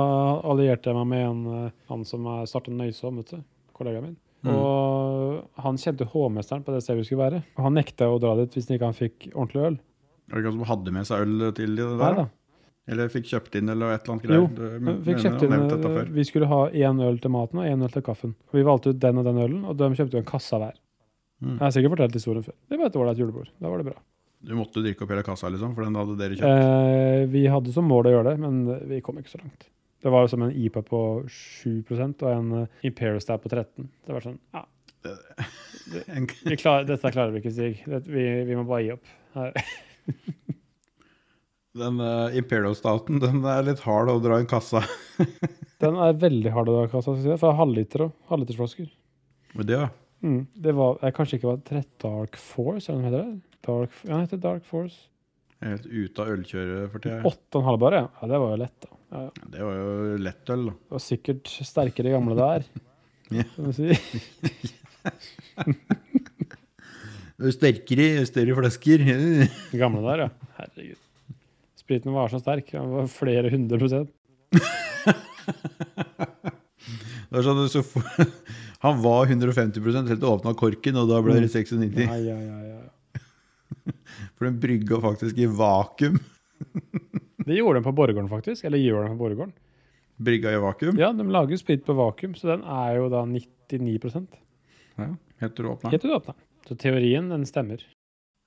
S1: allierte jeg meg med en, eh, han som er- startet Nøysom, vet du. Kollegaen min.
S2: Mm.
S1: Og han kjente hovmesteren på det stedet vi skulle være. Og han nekta jo å dra dit hvis ikke han fikk ordentlig øl.
S2: Er det ikke han som hadde med seg øl til det der?
S1: Nei da.
S2: Eller fikk kjøpt inn, eller et eller annet
S1: Jo,
S2: greier. Du men-
S1: Fikk
S2: mener
S1: kjøpt
S2: jeg har nevnt dette
S1: inn, eh,
S2: før.
S1: vi skulle ha én øl til maten og én øl til kaffen. Og vi valgte ut den og den ølen, og de kjøpte jo en kasse hver.
S2: Mm.
S1: Jeg har sikkert fortalt historien før. Det var et ålreit julebord. Da var det bra.
S2: Du måtte drikke opp hele kassa, liksom, for den hadde dere kjøpt.
S1: Eh, vi hadde som mål å gjøre det, men vi kom ikke så langt. Det var liksom en IPA på 7 og en eh, Imperial Stab på 13 Det var sånn ja,
S2: En,
S1: vi klarer, Dette klarer vi ikke, Stig. Det, vi, vi må bare gi opp. Her.
S2: den eh, Imperial Stouten den er litt hard å dra i kassa.
S1: Den er veldig hard å dra i kassa, skal jeg si deg, for det er halvliter og halvlitersflasker.
S2: Men det, ja.
S1: Mm. Det var jeg kanskje ikke var trett Dark Force, eller hva heter det? Dark, ja, den heter Dark Force.
S2: Jeg er helt ute av ølkjøret for tida.
S1: Åtte og en halv bare, ja. ja. Det var jo lett, da. Ja, ja.
S2: Det var jo lettøl, da.
S1: Det var sikkert sterkere gamle der,
S2: Ja.
S1: kan du si.
S2: Jo Sterkere, jo større flasker.
S1: Gamle der, ja. Herregud. Spriten var så sterk. Den var flere hundre prosent.
S2: Det er sånn, så, f- han var 150 helt til åpna korken, og da ble det 96.
S1: Ja, ja, ja, ja.
S2: For den brygga faktisk i vakuum.
S1: Det gjorde de på Borregaarden, faktisk. Eller gjør de på Borregaarden.
S2: Brygga i vakuum.
S1: Ja, de lager jo sprit på vakuum, så den er jo da 99
S2: Ja, Helt til du åpna.
S1: Helt til du åpner den. Så teorien, den stemmer.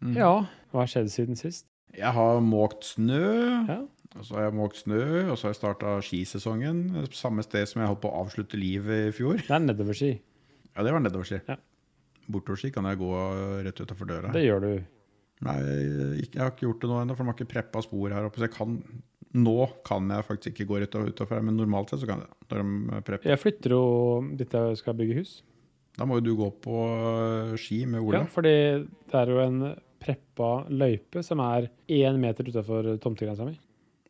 S2: Mhm.
S1: Ja, hva har skjedd siden sist?
S2: Jeg har måkt snø.
S1: Ja.
S2: Og så har jeg måkt snø, og så har jeg starta skisesongen. Samme sted som jeg holdt på å avslutte livet i fjor.
S1: Det er nedoverski.
S2: Ja, det var nedoverski.
S1: Ja.
S2: Bortoverski kan jeg gå rett utafor døra.
S1: Det gjør du.
S2: Nei, ikke, jeg har ikke gjort det nå ennå, for de har ikke preppa spor her oppe. Så jeg kan, nå kan jeg faktisk ikke gå rett utafor her, men normalt sett så kan jeg det. Når de prepper.
S1: Jeg flytter jo dit jeg skal bygge hus.
S2: Da må jo du gå på eh, ski med
S1: Ja,
S2: Ola.
S1: fordi det er jo en preppa løype som er én meter utafor tomtegrensa mi.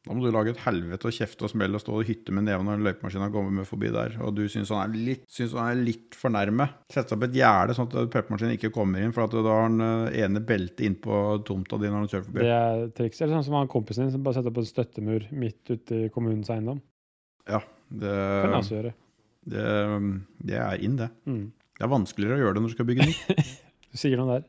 S2: Da må du lage et helvete og kjefte og smelle og stå og hytte med neven når løypemaskina kommer med forbi der, og du syns han er litt, syns han er litt for nærme. Sette opp et gjerde sånn at prepmaskinen ikke kommer inn, for at da har han eh, ene beltet innpå tomta di når han kjører forbi.
S1: Det er trikset. Eller sånn som han kompisen din som bare setter opp en støttemur midt ute i kommunens eiendom.
S2: Det,
S1: Det kan jeg også gjøre.
S2: det, det er inn, det.
S1: Mm.
S2: Det er vanskeligere å gjøre det når du skal bygge nytt.
S1: Du sier noe der.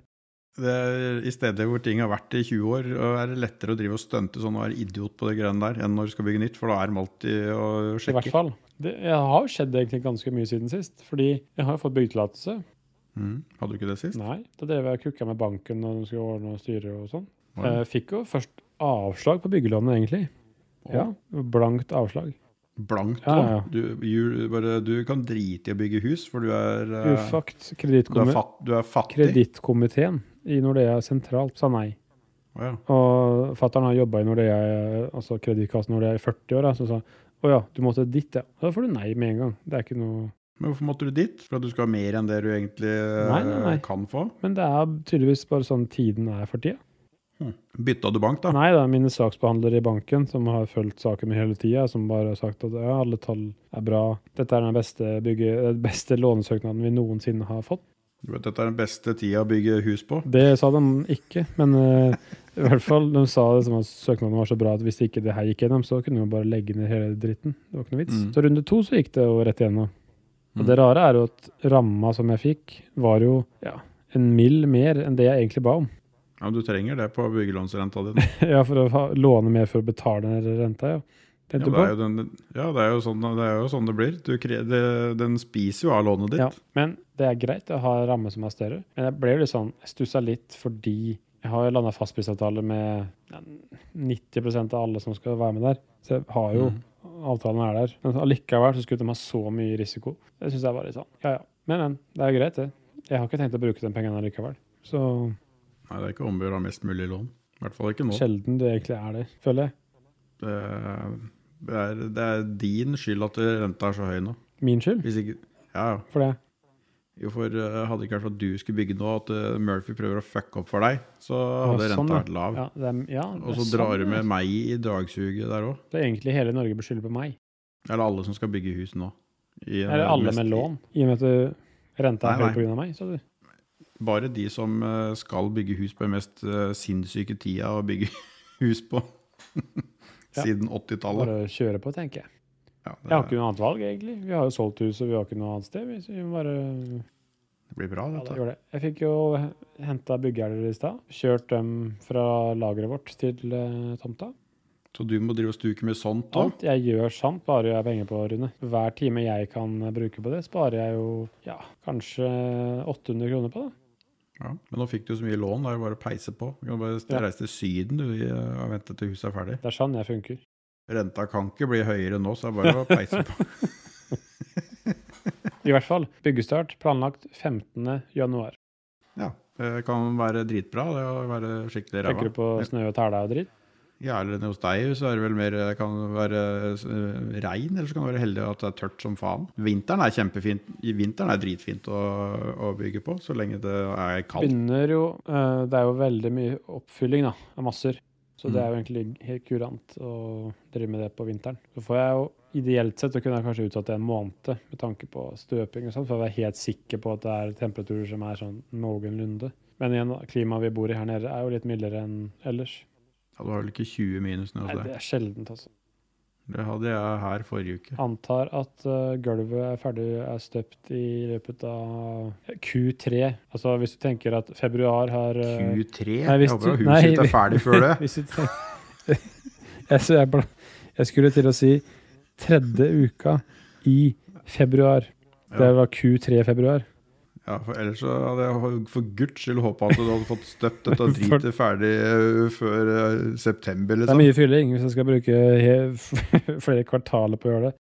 S2: Det er, I steder hvor ting har vært i 20 år, og er det lettere å drive og stunte sånn og være idiot på det greiene der, enn når du skal bygge nytt, for da er de alltid å
S1: I hvert
S2: sjekke.
S1: fall. Det jeg har jo skjedd egentlig ganske mye siden sist. Fordi jeg har jo fått byggetillatelse.
S2: Mm. Hadde du ikke det sist?
S1: Nei. Da drev jeg og kukka med banken når de skulle ordne og styre og sånn.
S2: Var det?
S1: Jeg fikk jo først avslag på byggelånet, egentlig.
S2: Å.
S1: Ja. Blankt avslag.
S2: Blankt
S1: Ja,
S2: da.
S1: ja.
S2: Du, jul- bare, du kan drite i å bygge hus, for du er, eh,
S1: Ufakt.
S2: du er,
S1: Kredittkomi-
S2: fat, du er fattig.
S1: Kredittkomiteen i Nordea sentralt sa nei.
S2: Å, ja.
S1: Og fattern har jobba i Nordea, altså Kredittkassen Nordea i 40 år, da, så sa å ja, du måtte dit, ja. Da får du nei med en gang. Det er ikke noe
S2: Men hvorfor måtte du dit? For at du skal ha mer enn det du egentlig eh,
S1: Nei, nei, nei.
S2: kan få?
S1: Men det er tydeligvis bare sånn tiden er for tida.
S2: Hm. Bytta du bank, da?
S1: Nei, det er mine saksbehandlere i banken som har fulgt saken min hele tida, som bare har sagt at ja, alle tall er bra, dette er den beste, bygge, den beste lånesøknaden vi noensinne har fått.
S2: Du vet, dette er den beste tida å bygge hus på.
S1: Det sa de ikke, men eh, i hvert fall de sa det som at søknaden var så bra at hvis ikke det her gikk gjennom, så kunne man bare legge ned hele dritten. Det var ikke noe vits.
S2: Mm.
S1: Så runde to så gikk det jo rett igjennom. Og
S2: Mm.
S1: det rare er jo at ramma som jeg fikk, var jo ja, en mill mer enn det jeg egentlig ba om.
S2: Ja, men du trenger det på byggelånsrenta di. nå.
S1: ja, for å ha, låne mer for å betale den renta, ja.
S2: Ja,
S1: Tenkte
S2: det
S1: du på?
S2: er jo, den, ja det, er jo sånn, det er jo sånn det blir. Du kre, det, den spiser jo av lånet ditt.
S1: Ja, men det er greit å ha en ramme som er større. Men jeg ble jo litt sånn, jeg stussa litt fordi jeg har jo landa fastprisavtale med ja, 90 av alle som skal være med der. Så jeg har jo
S2: Mhm.
S1: avtalen er der. Men allikevel så skulle de ha så mye risiko. Det syns jeg var litt sånn, ja ja. Men, men. Det er jo greit, det. Jeg har ikke tenkt å bruke de pengene allikevel. Så
S2: Nei, det er ikke om å gjøre å ha mest mulig lån. I hvert fall ikke nå.
S1: sjelden det egentlig er det, føler jeg.
S2: Det er, det er, det er din skyld at renta er så høy nå.
S1: Min skyld
S2: Hvis ikke Ja, ja.
S1: for det.
S2: Jo, for eh, hadde det ikke vært for at du skulle bygge nå, at eh, Murphy prøver å fucke opp for deg, så hadde
S1: sånn,
S2: renta
S1: ja.
S2: vært lav.
S1: Ja, det er, ja,
S2: Og
S1: det
S2: så
S1: er
S2: drar
S1: sånn,
S2: du med
S1: ja.
S2: meg i dragsuget der òg.
S1: Det er egentlig hele Norge beskylder på meg.
S2: Eller alle som skal bygge hus nå. I, eh,
S1: Eller alle
S2: mest-
S1: med lån, i og med at uh, renta er
S2: Nei,
S1: høy pga. meg. sa du.
S2: Bare de som eh, skal bygge hus på den mest eh, sinnssyke tida å bygge hus på.
S1: Ja.
S2: Siden 80-tallet.
S1: Bare kjøre på, tenker jeg.
S2: Ja,
S1: Jeg har
S2: det,
S1: ikke noe annet valg, egentlig. Vi har jo solgt huset, vi har ikke noe annet sted. Vi, så vi må bare
S2: det blir bra,
S1: ja, det
S2: dette.
S1: gjør det. Jeg fikk jo henta byggjerder i stad. Kjørt dem fra lageret vårt til eh, tomta.
S2: Så du må drive og stuke med sånt òg?
S1: Alt jeg gjør sant, bare jeg har penger på, Rune. Hver time jeg kan bruke på det, sparer jeg jo ja, kanskje 800 kroner på det.
S2: Ja. Men nå fikk du så mye lån, da er det bare å peise på. Du kan bare
S1: Ja.
S2: reise til Syden du, i, eh, og vente til huset er ferdig.
S1: Det er sånn jeg funker.
S2: Renta kan ikke bli høyere nå, så det er bare å peise på.
S1: I hvert fall. Byggestart planlagt 15. januar.
S2: Ja, det kan være dritbra. Det å være skikkelig
S1: Tenker
S2: ræva.
S1: du på snø og tæla og dritt?
S2: Ja, eller hos deg så er det vel mer Det kan være eh, regn, eller så kan du være heldig at det er tørt som faen. Vinteren er kjempefint. I vinteren er dritfint å, å bygge på, så lenge det er kaldt.
S1: Begynner jo eh, Det er jo veldig mye oppfylling da, av masser. Så det
S2: Mm.
S1: er jo egentlig helt kurant å drive med det på vinteren. Så får jeg jo ideelt sett så kunne jeg kanskje utsatt det en måned med tanke på støping og sånn, for å være helt sikker på at det er temperaturer som er sånn noenlunde. Men igjen, da, klimaet vi bor i her nede er jo litt mildere enn ellers.
S2: Ja, du har vel ikke 20 minus nå?
S1: Nei,
S2: Altså.
S1: det er sjeldent, altså.
S2: Det hadde jeg her forrige uke.
S1: Antar at eh, gulvet er ferdig er støpt i løpet av Q3. Altså hvis du tenker at februar har eh,
S2: Q3?
S1: Nei, hvis
S2: jeg håper
S1: du-
S2: huset
S1: nei,
S2: ditt er ferdig før det.
S1: Hvis du tenker, jeg, så jeg, bla- jeg skulle til å si tredje uka i februar. Det
S2: Ja.
S1: var Q3 i februar.
S2: Ja, for Ellers så hadde jeg ho- for guds skyld håpa at du hadde fått støpt dette dritet ferdig ø, før ø, september,
S1: Det er
S2: liksom.
S1: mye fylling hvis jeg skal bruke he- flere kvartaler på å gjøre det.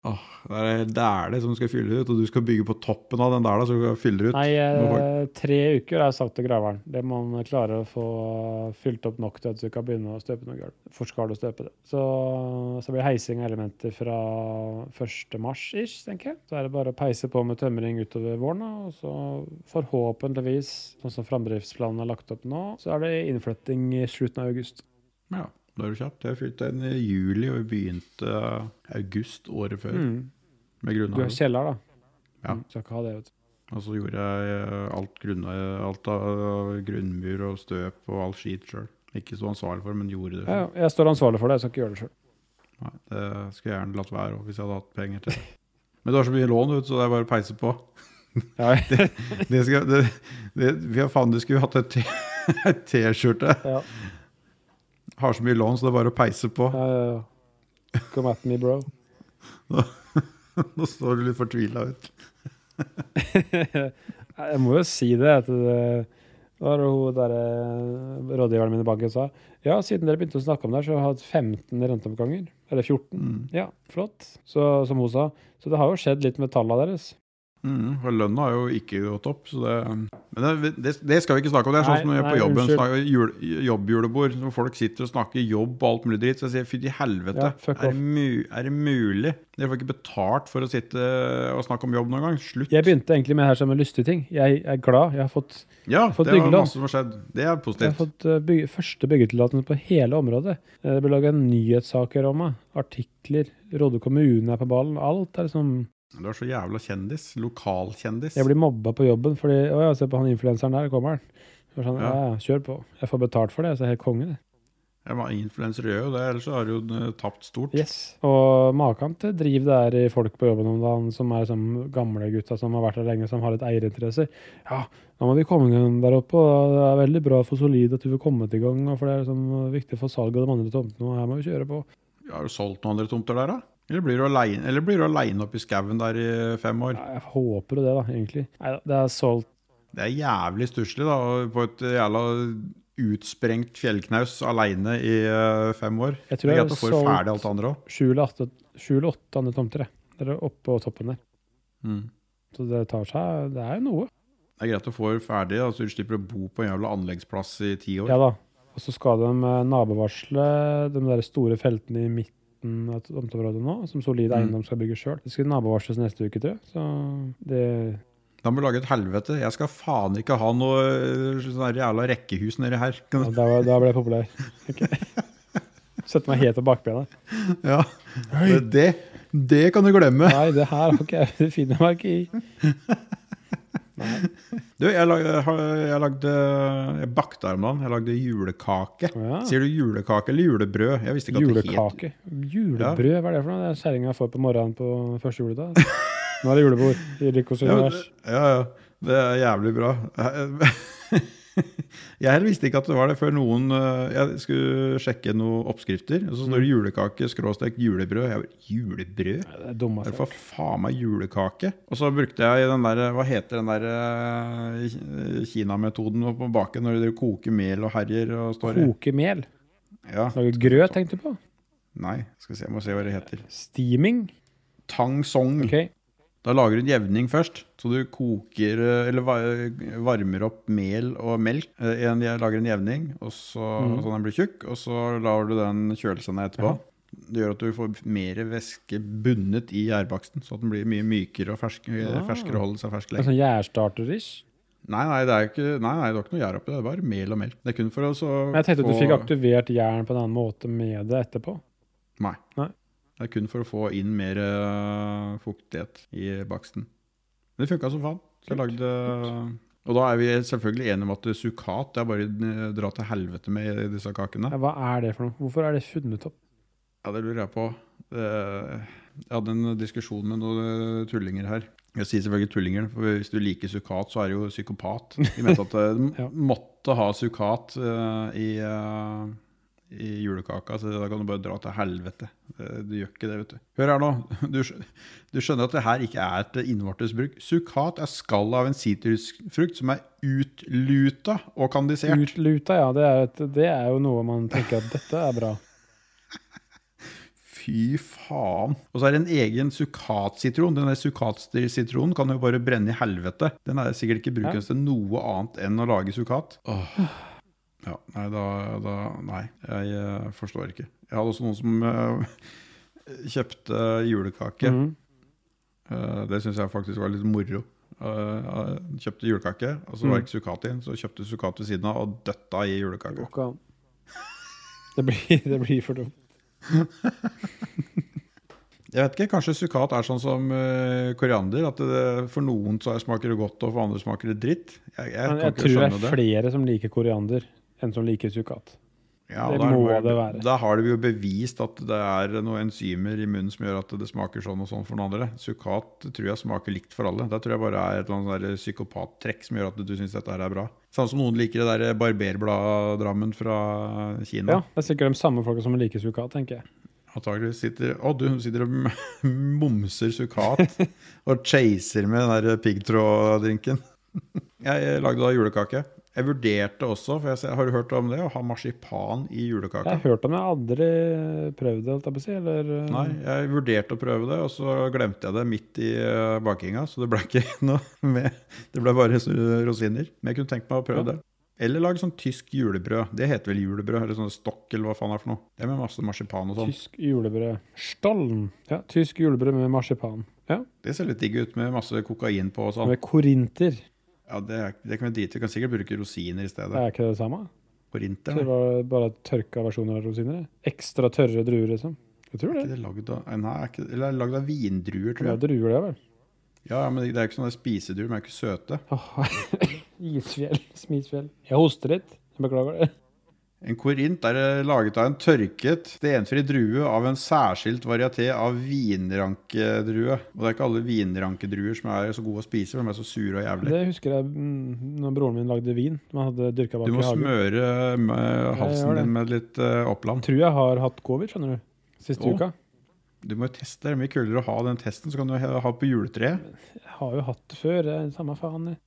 S2: Det er ei dæle som skal fylle ut, og du skal bygge på toppen av den dæla, så du fyller ut.
S1: Nei,
S2: Nå får-
S1: eh, tre uker er sagt til graveren. Det må man klare å få fylt opp nok til at du kan begynne å støpe noe gulv. For skal du støpe det. Så, så blir heising av elementer fra 1. mars, ish, tenker jeg. Så er det bare å peise på med tømring utover våren, da, og så forhåpentligvis, sånn som framdriftsplanen er lagt opp nå, så er det innflytting i slutten av august.
S2: Ja, da er du kjapt. Jeg fylte den i juli og begynte eh, august året før
S1: Mm.
S2: med
S1: Du har
S2: grunnhagen.
S1: kjeller, da.
S2: Ja.
S1: Mm, Skal ikke ha det, vet du.
S2: Og så gjorde jeg ø, alt, grunna, alt av eh, grunnmur og støp og all skit sjøl. Ikke så ansvarlig for, men gjorde det.
S1: Ja, ja, jeg står ansvarlig for det, jeg skal ikke gjøre det sjøl.
S2: Nei, det skulle jeg gjerne latt være også, hvis jeg hadde hatt penger til det. Men du har så mye lån, vet du, så det er bare å peise på.
S1: Ja.
S2: det, det skal, det, det, vi har faen, du skulle hatt et T- et T-skjorte.
S1: Ja.
S2: Har så mye lån, så det er bare å peise på.
S1: Ja, ja, ja. Come at me, bro.
S2: Nå står du litt fortvila ut.
S1: Nei, Eh, Jeg må jo si det. at det det var hun der, eh, Rådgiveren min i banken sa ja, siden dere begynte å snakke om det, her, så har jeg hatt 15 renteoppganger. Eller 14.
S2: Mm.
S1: Ja, flott. Så, som hun sa. Så det har jo skjedd litt med tallene deres.
S2: Mm, for lønna har jo ikke gått opp, så det Men det, det, det skal vi ikke snakke om. Det er sånn som når jeg er
S1: Nei,
S2: på
S1: nei,
S2: jobben
S1: unnskyld.
S2: snakker jul, jobbjulebord, når folk sitter og snakker jobb og alt mulig dritt, så jeg sier fy til
S1: Ja,
S2: helvete.
S1: fuck
S2: er, det mu, er det mulig? Dere får ikke betalt for å sitte og snakke om jobb noen gang. Slutt.
S1: Jeg begynte egentlig med det her som en lystig ting. Jeg er glad. Jeg har fått,
S2: ja,
S1: fått
S2: det var
S1: byggelån.
S2: masse som har skjedd. Det er
S1: jeg har
S2: positivt.
S1: fått eh, bygge, første byggetillatelse på hele området. Eh, Det ble laga nyhetssaker om meg. Artikler. Råde kommune er på ballen. Alt er liksom
S2: Du er så jævla kjendis. Lokalkjendis.
S1: Jeg blir mobba på jobben fordi Å ja, se på han influenseren der, kommer han. Jeg var Sånn, ja.
S2: Ja.
S1: ja, kjør på. Jeg får betalt for det, så jeg er helt konge, det.
S2: Jeg var influenser i øyet, ellers så har du jo eh, tapt stort.
S1: Yes. Og maken til driv det er i folk på jobben om dagen som er som gamle gutta som har vært der lenge, som har litt eierinteresser. Ja, nå må vi komme i gang der oppe, og det er veldig bra for Solid at du vil komme til gang, og for det er liksom viktig for salget av de andre tomtene, og her må vi kjøre på.
S2: Har du solgt noen andre tomter der, da? Eller blir du aleine- eller blir du aleine oppe i skauen der i fem år?
S1: Ja, jeg håper jo det, da, egentlig. Nei da, det er solgt
S2: Det er jævlig stusslig, da, å- på et jævla utsprengt fjellknaus aleine i eh, fem år.
S1: Jeg tror
S2: Det er
S1: jeg
S2: greit
S1: har
S2: å få ferdig alt
S1: solgt
S2: det andre òg.
S1: sju eller åtte- sju eller åtte andre tomter, jeg. Det er oppå toppen der. Så det tar seg Det er jo noe.
S2: Mm. Det er greit å få ferdig, da, så du slipper å bo på en jævla anleggsplass i ti år.
S1: Ja da. Og så skal de eh, nabovarsle de der store feltene i midten av tomteområdet nå, som
S2: Mm.
S1: solid eiendom skal bygge sjøl. Det skal nabovarsles neste uke, tror jeg. Så det
S2: Da må du lage et helvete. Jeg skal faen ikke ha noe eh, sånn der jævla rekkehus nedi her.
S1: ja, Da, var- da ble jeg populær. Ok. Sette meg helt på bakbena.
S2: Ja. Det, det kan du glemme.
S1: Nei, det her har ikke jeg Det finner jeg meg ikke i.
S2: Du, jeg lagde, jeg har- jeg lagde Jeg bakte her om dagen. Jeg lagde julekake.
S1: Å ja.
S2: Sier du julekake eller julebrød? Jeg visste ikke at det het
S1: Julekake. Julebrød, hva er det for noe? Det er kjerringa får på morgenen på første juledag. Nå er det julebord i Rikos
S2: Ja, men
S1: univers.
S2: det- ja, ja. Det er jævlig bra. Jeg heller visste ikke at det var det før noen eh, Jeg skulle sjekke noen oppskrifter, og så står det julekake skråstrek julebrød. Jeg bare, julebrød?
S1: Nei, Det er dumme
S2: Det er
S1: saker.
S2: for faen meg julekake. Og så brukte jeg den der Hva heter den der eh, Kina-metoden på baken når dere koker mel og herjer og står i?
S1: Koke mel?
S2: Ja.
S1: Lage grøt, tenkte du på?
S2: Nei, skal vi se, jeg må se hva det heter.
S1: Steaming.
S2: Tang song.
S1: Ok.
S2: Da lager du en jevning først. Så du koker eh, Eller va- varmer opp mel og melk. Eh, en- Jeg lager en jevning, og så,
S1: Mhm.
S2: så den blir tjukk. Og så lar du den kjøle seg ned etterpå. Det gjør at du får mer væske bundet i gjærbaksten, så at den blir mye mykere og fersk, eh,
S1: Ah.
S2: ferskere og holder seg fersk
S1: Det er
S2: lenger.
S1: sånn gjærstarter-ish.
S2: Nei, nei, det er jo ikke, nei, nei, det var ikke noe gjær oppi det. Det var mel og melk. Det er kun for å så
S1: Men jeg tenkte at du
S2: få-
S1: fikk aktivert jern på en annen måte med det etterpå.
S2: Nei.
S1: Nei.
S2: Det er kun for å få inn mer øh, fuktighet i baksten. Men det funka som faen. Så jeg lagde Og da er vi selvfølgelig enige om at sukkat det er bare å dra til helvete med i disse kakene.
S1: Ja, hva er det for noe? Hvorfor er det funnet opp?
S2: Ja, det lurer jeg på. Eh, Jeg hadde en diskusjon med noen eh, tullinger her. Jeg sier selvfølgelig tullinger, for hvis du liker sukkat, så er du jo psykopat. De mente at eh, du
S1: Ja.
S2: måtte ha sukkat eh, i, eh, i julekaka, så da kan du bare dra til helvete. Eh, Du gjør ikke det, vet du. Hør her nå. Du, skj- du skjønner at det her ikke er til innvortes bruk. Sukkat er skallet av en sitrusfrukt som er utluta og kandisert.
S1: Utluta, ja. Det er, et, det er jo noe man tenker at dette er bra.
S2: Fy faen. Og så er det en egen sukatsitron. Den der sukatssitronen kan jo bare brenne i helvete. Den er sikkert ikke brukes til noe annet enn å lage sukat. Åh. Ja, nei, da, da Nei, jeg eh, forstår ikke. Jeg hadde også noen som eh, kjøpte julekake.
S1: Mhm.
S2: Eh, det syns jeg faktisk var litt moro. Eh, eh, kjøpte julekake, og så var det ikke sukat i den, så kjøpte sukat ved siden av og døtta i
S1: Det
S2: julekaka.
S1: går ikke an. Det blir, det blir for dumt.
S2: Jeg vet ikke, Kanskje sukkat er sånn som eh, koriander. At det, for noen så er- smaker det godt, og for andre smaker det dritt. Jeg,
S1: Men
S2: jeg, kan
S1: jeg
S2: ikke
S1: tror det
S2: skjønne
S1: er
S2: det.
S1: flere som liker koriander, enn som liker sukkat.
S2: Ja,
S1: det
S2: da er
S1: må
S2: bare-
S1: det være.
S2: Da har vi jo bevist at det er noen enzymer i munnen som gjør at det smaker sånn og sånn for noen andre. Sukkat tror jeg smaker likt for alle. Det tror jeg bare er et eller annet sånn der psykopattrekk som gjør at du syns dette her er bra. Samme som noen liker det der barberbladdrammen fra Kina.
S1: Ja, det er sikkert de samme folka som liker sukkat, tenker jeg.
S2: Antakeligvis sitter Å, du hun sitter og momser sukkat og chaser med den der piggtråddrinken. Jeg lagde da julekake. Jeg vurderte også, for jeg ser- har du hørt om det, å ha marsipan
S1: Jeg
S2: i
S1: har
S2: julekaka?
S1: hørt om det, jeg har aldri prøvd det, holdt jeg på å si. Eller eh,
S2: Nei, jeg vurderte å prøve det, og så glemte jeg det midt i eh, bakinga, så det ble ikke noe med. Det ble bare s- rosiner. Men jeg kunne tenkt meg å prøve
S1: Ja.
S2: det. Eller lage sånn tysk julebrød. Det heter vel julebrød, eller sånn stokk, eller hva faen det er for noe. Det er med masse marsipan og sånn.
S1: tysk julebrød. Stollen! Ja, tysk julebrød med marsipan. Ja,
S2: Det ser litt digg ut med masse kokain på og sånn.
S1: med korinter.
S2: Ja, det, er- det kan vi drite i. Vi kan sikkert bruke rosiner i stedet.
S1: Er ikke det det samme? Så
S2: På
S1: det
S2: rinteren.
S1: var bare tørka versjoner av rosiner? det? Ekstra tørre druer, liksom? Jeg tror
S2: Er
S1: det.
S2: ikke det lagd av, nei, er ikke, eller er det lagd av vindruer,
S1: Det er
S2: tror jeg.
S1: druer, det, vel.
S2: Ja, ja, men Det det er ikke sånne spisedruer, de er ikke søte.
S1: Åh, Isfjell. Smisfjell. Jeg hoster litt. Jeg beklager det.
S2: En korint er eh, laget av en tørket, stenfri drue av en særskilt varieté av vinrankedrue. Og det er ikke alle vinrankedruer som er så gode å spise, for de er så sure og jævlig.
S1: Det husker jeg mm, når broren min lagde vin. Man hadde dyrka bak
S2: Du
S1: i
S2: må
S1: hagen.
S2: smøre eh,
S1: gjør
S2: halsen
S1: det.
S2: din med litt eh,
S1: Jeg
S2: Oppland.
S1: tror jeg har hatt covid, skjønner du. Siste
S2: Åh.
S1: uka.
S2: Du må jo teste. Det er mye kulere å ha den testen, så kan du he- ha på juletreet.
S1: Jeg har jo hatt det før. Det er samme faen. jeg.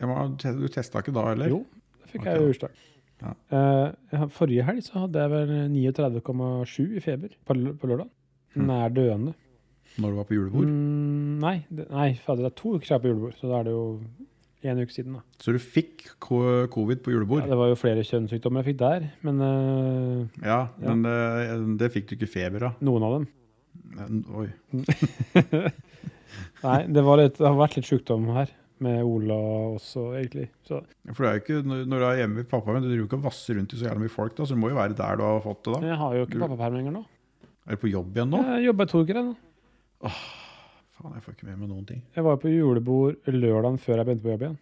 S2: Ja, men Du testa ikke da heller?
S1: Jo, det fikk
S2: Ok,
S1: jeg
S2: da.
S1: jo utslag.
S2: Ja.
S1: Eh, jeg har- forrige helg så hadde jeg vel eh, 39,7 i feber på, l- på lørdag.
S2: Hm.
S1: Nær døende.
S2: Når du var på julebord?
S1: Mm, nei, det, nei, fader, det er to uker siden jeg er på julebord, så da er det jo en uke siden. da.
S2: Så du fikk ko- covid på
S1: Ja,
S2: julebord?
S1: det var jo flere kjønnssykdommer jeg fikk der, men eh,
S2: Ja, men eh, det, det fikk du ikke feber av.
S1: noen av dem
S2: Men, Oi.
S1: Nei, det, var litt, det har vært litt sjukdom her, med Ola også, egentlig. Så
S2: For det er jo ikke, når når du er hjemme med pappa, men du driver jo ikke og vasser rundt i så jævlig mye folk, da, så du må jo være der du har fått det,
S1: Men
S2: da.
S1: jeg har jo ikke
S2: Du-
S1: pappaperm lenger nå.
S2: Er du på jobb igjen nå?
S1: Jeg jobba i to uker ennå.
S2: Faen, jeg får ikke med meg noen ting.
S1: Jeg var på julebord lørdagen før jeg begynte på jobb igjen.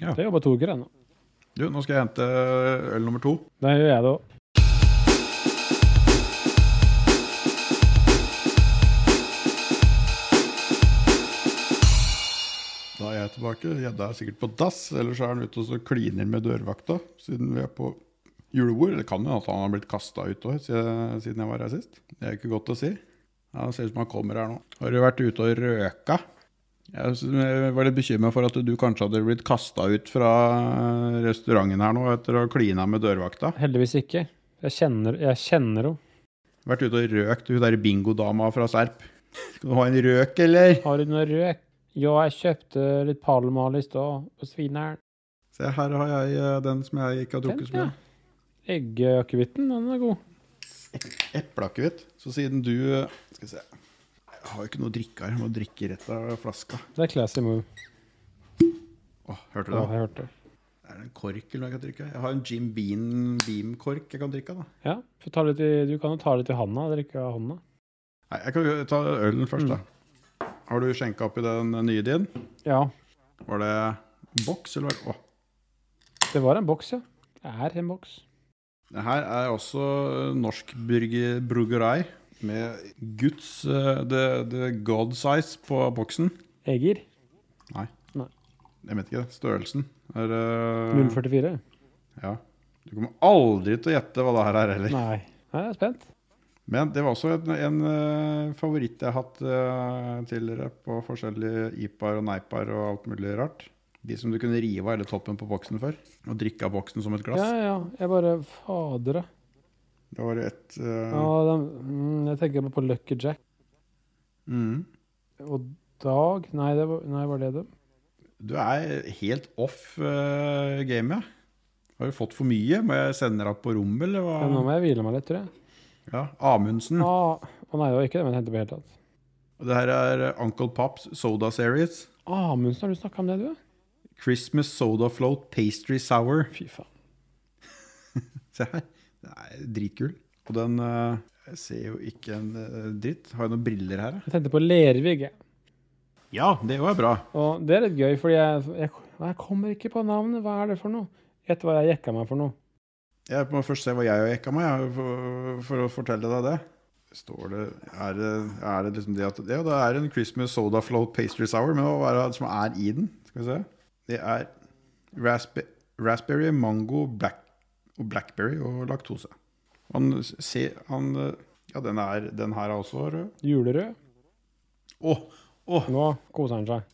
S2: Ja.
S1: Så jeg jobba to uker ennå.
S2: Du, nå skal jeg hente eh, øl nummer to.
S1: Da gjør jeg det òg.
S2: Da er jeg tilbake. Gjedda er sikkert på dass, eller så er han ute og så kliner med dørvakta, siden vi er på julebord. Det kan jo at han har blitt kasta ut òg, siden jeg var her sist. Det er ikke godt å si. Ja, det ser ut som han kommer her nå. Har du vært ute og røka? Jeg s- jeg var litt bekymra for at du kanskje hadde blitt kasta ut fra eh, restauranten her nå etter å ha klina med dørvakta.
S1: Heldigvis ikke. Jeg kjenner, jeg kjenner henne.
S2: Vært ute og røkt hun derre bingodama fra Serp. Skal du ha en røk, eller?
S1: Har du noe røk? Ja, jeg kjøpte litt palmal i stad, på Svineren.
S2: Se, her har jeg eh, den som jeg ikke har drukket så mye.
S1: Ja. Eggeakevitten, den er god.
S2: Epleakevitt. Så siden du eh, Skal vi se. Jeg har jo ikke noe å drikke her. Jeg må drikke rett av flaska.
S1: Det er classy move.
S2: Åh, hørte du
S1: Ja,
S2: det?
S1: jeg hørte det.
S2: Er det en kork eller noe jeg kan drikke? Jeg har en Jim Beam- Beam-kork jeg kan drikke av, da.
S1: Ja, får ta litt i, du kan jo ta litt i handa, drikke av handa.
S2: Nei, jeg kan jo ta ølen først, da. Har du skjenka oppi den nye din?
S1: Ja,
S2: Var det boks, eller var det Åh.
S1: det var en boks, ja. Det er en boks.
S2: Det her er også norsk brygge- bruggerei med Guds eh, the, the God size på boksen.
S1: Eger,
S2: Jeg vet ikke, størrelsen. Er, eh,
S1: 044.
S2: ja. Du kommer aldri til å gjette hva det her er heller.
S1: Nei. Nei, jeg er spent.
S2: Men det var også en, en eh, favoritt jeg har hatt eh, tidligere på forskjellige IPAR og E NEIPAR og alt mulig rart. De som du kunne rive av hele toppen på boksen for, og drikke av boksen som et glass.
S1: Ja, ja, jeg bare, fader da.
S2: Det var et eh,
S1: Ja, den, mm, jeg tenker bare på Lucky Jack.
S2: mm.
S1: Og Dag, nei, det var, nei, var det det?
S2: Du er helt off uh, gamet. Har du fått for mye? Må jeg sende deg opp på rommet, eller
S1: Ja, nå
S2: hva?
S1: må jeg hvile meg litt, tror jeg.
S2: Ja, Amundsen.
S1: Ah, å nei, det var ikke det, men jeg tenkte på helt tatt.
S2: Det her er Uncle Pops Soda Series.
S1: Amundsen, Ah, har du snakket om det, du?
S2: Christmas Soda Float Pastry Sour.
S1: Fy faen.
S2: Se her. Den er dritkul. Og den eh, jeg ser jo ikke en eh, dritt. Har jeg noen briller her, da?
S1: Jeg tenkte på Lervig, jeg.
S2: Ja, det òg er bra.
S1: Og det er litt gøy, fordi jeg, jeg, jeg kommer ikke på navnet. Hva er det for noe? Gjett hva jeg jekka meg for noe.
S2: Jeg må først se hva jeg og jekka meg, jeg, for, for å fortelle deg det. Står det Er det, er det liksom det at Ja, det er en Christmas Soda Float Pastry Sour, men hva er det som er i den? Skal vi se. Det er raspe, raspberry, mango, black, og blackberry og laktose. Han ser Han eh, Ja, den, er, den her er også rød.
S1: Julerød.
S2: Å! å,
S1: Nå koser han seg.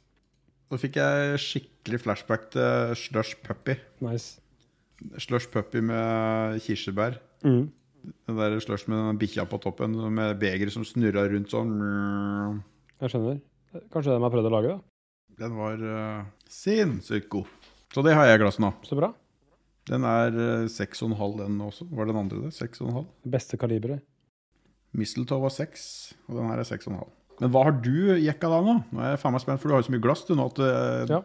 S2: Da fikk jeg skikkelig flashback til Slush Puppy.
S1: Nice.
S2: Slush Puppy med kirsebær.
S1: Mm.
S2: Den der slush med den bikkja på toppen med beger som snurra rundt sånn.
S1: Jeg skjønner. Kanskje det er de har prøvd å lage, da.
S2: Den var eh, sinnssykt god. Så det har jeg i glasset nå.
S1: Så bra.
S2: Den er eh, 6,5 den også. Var den andre det? 6,5?
S1: Det beste kaliberet.
S2: Mistletoe var 6, og den her er 6,5. Men hva har du jekka da nå? Nå er jeg faen meg spent, for du har jo så mye glass du nå at eh,
S1: Ja.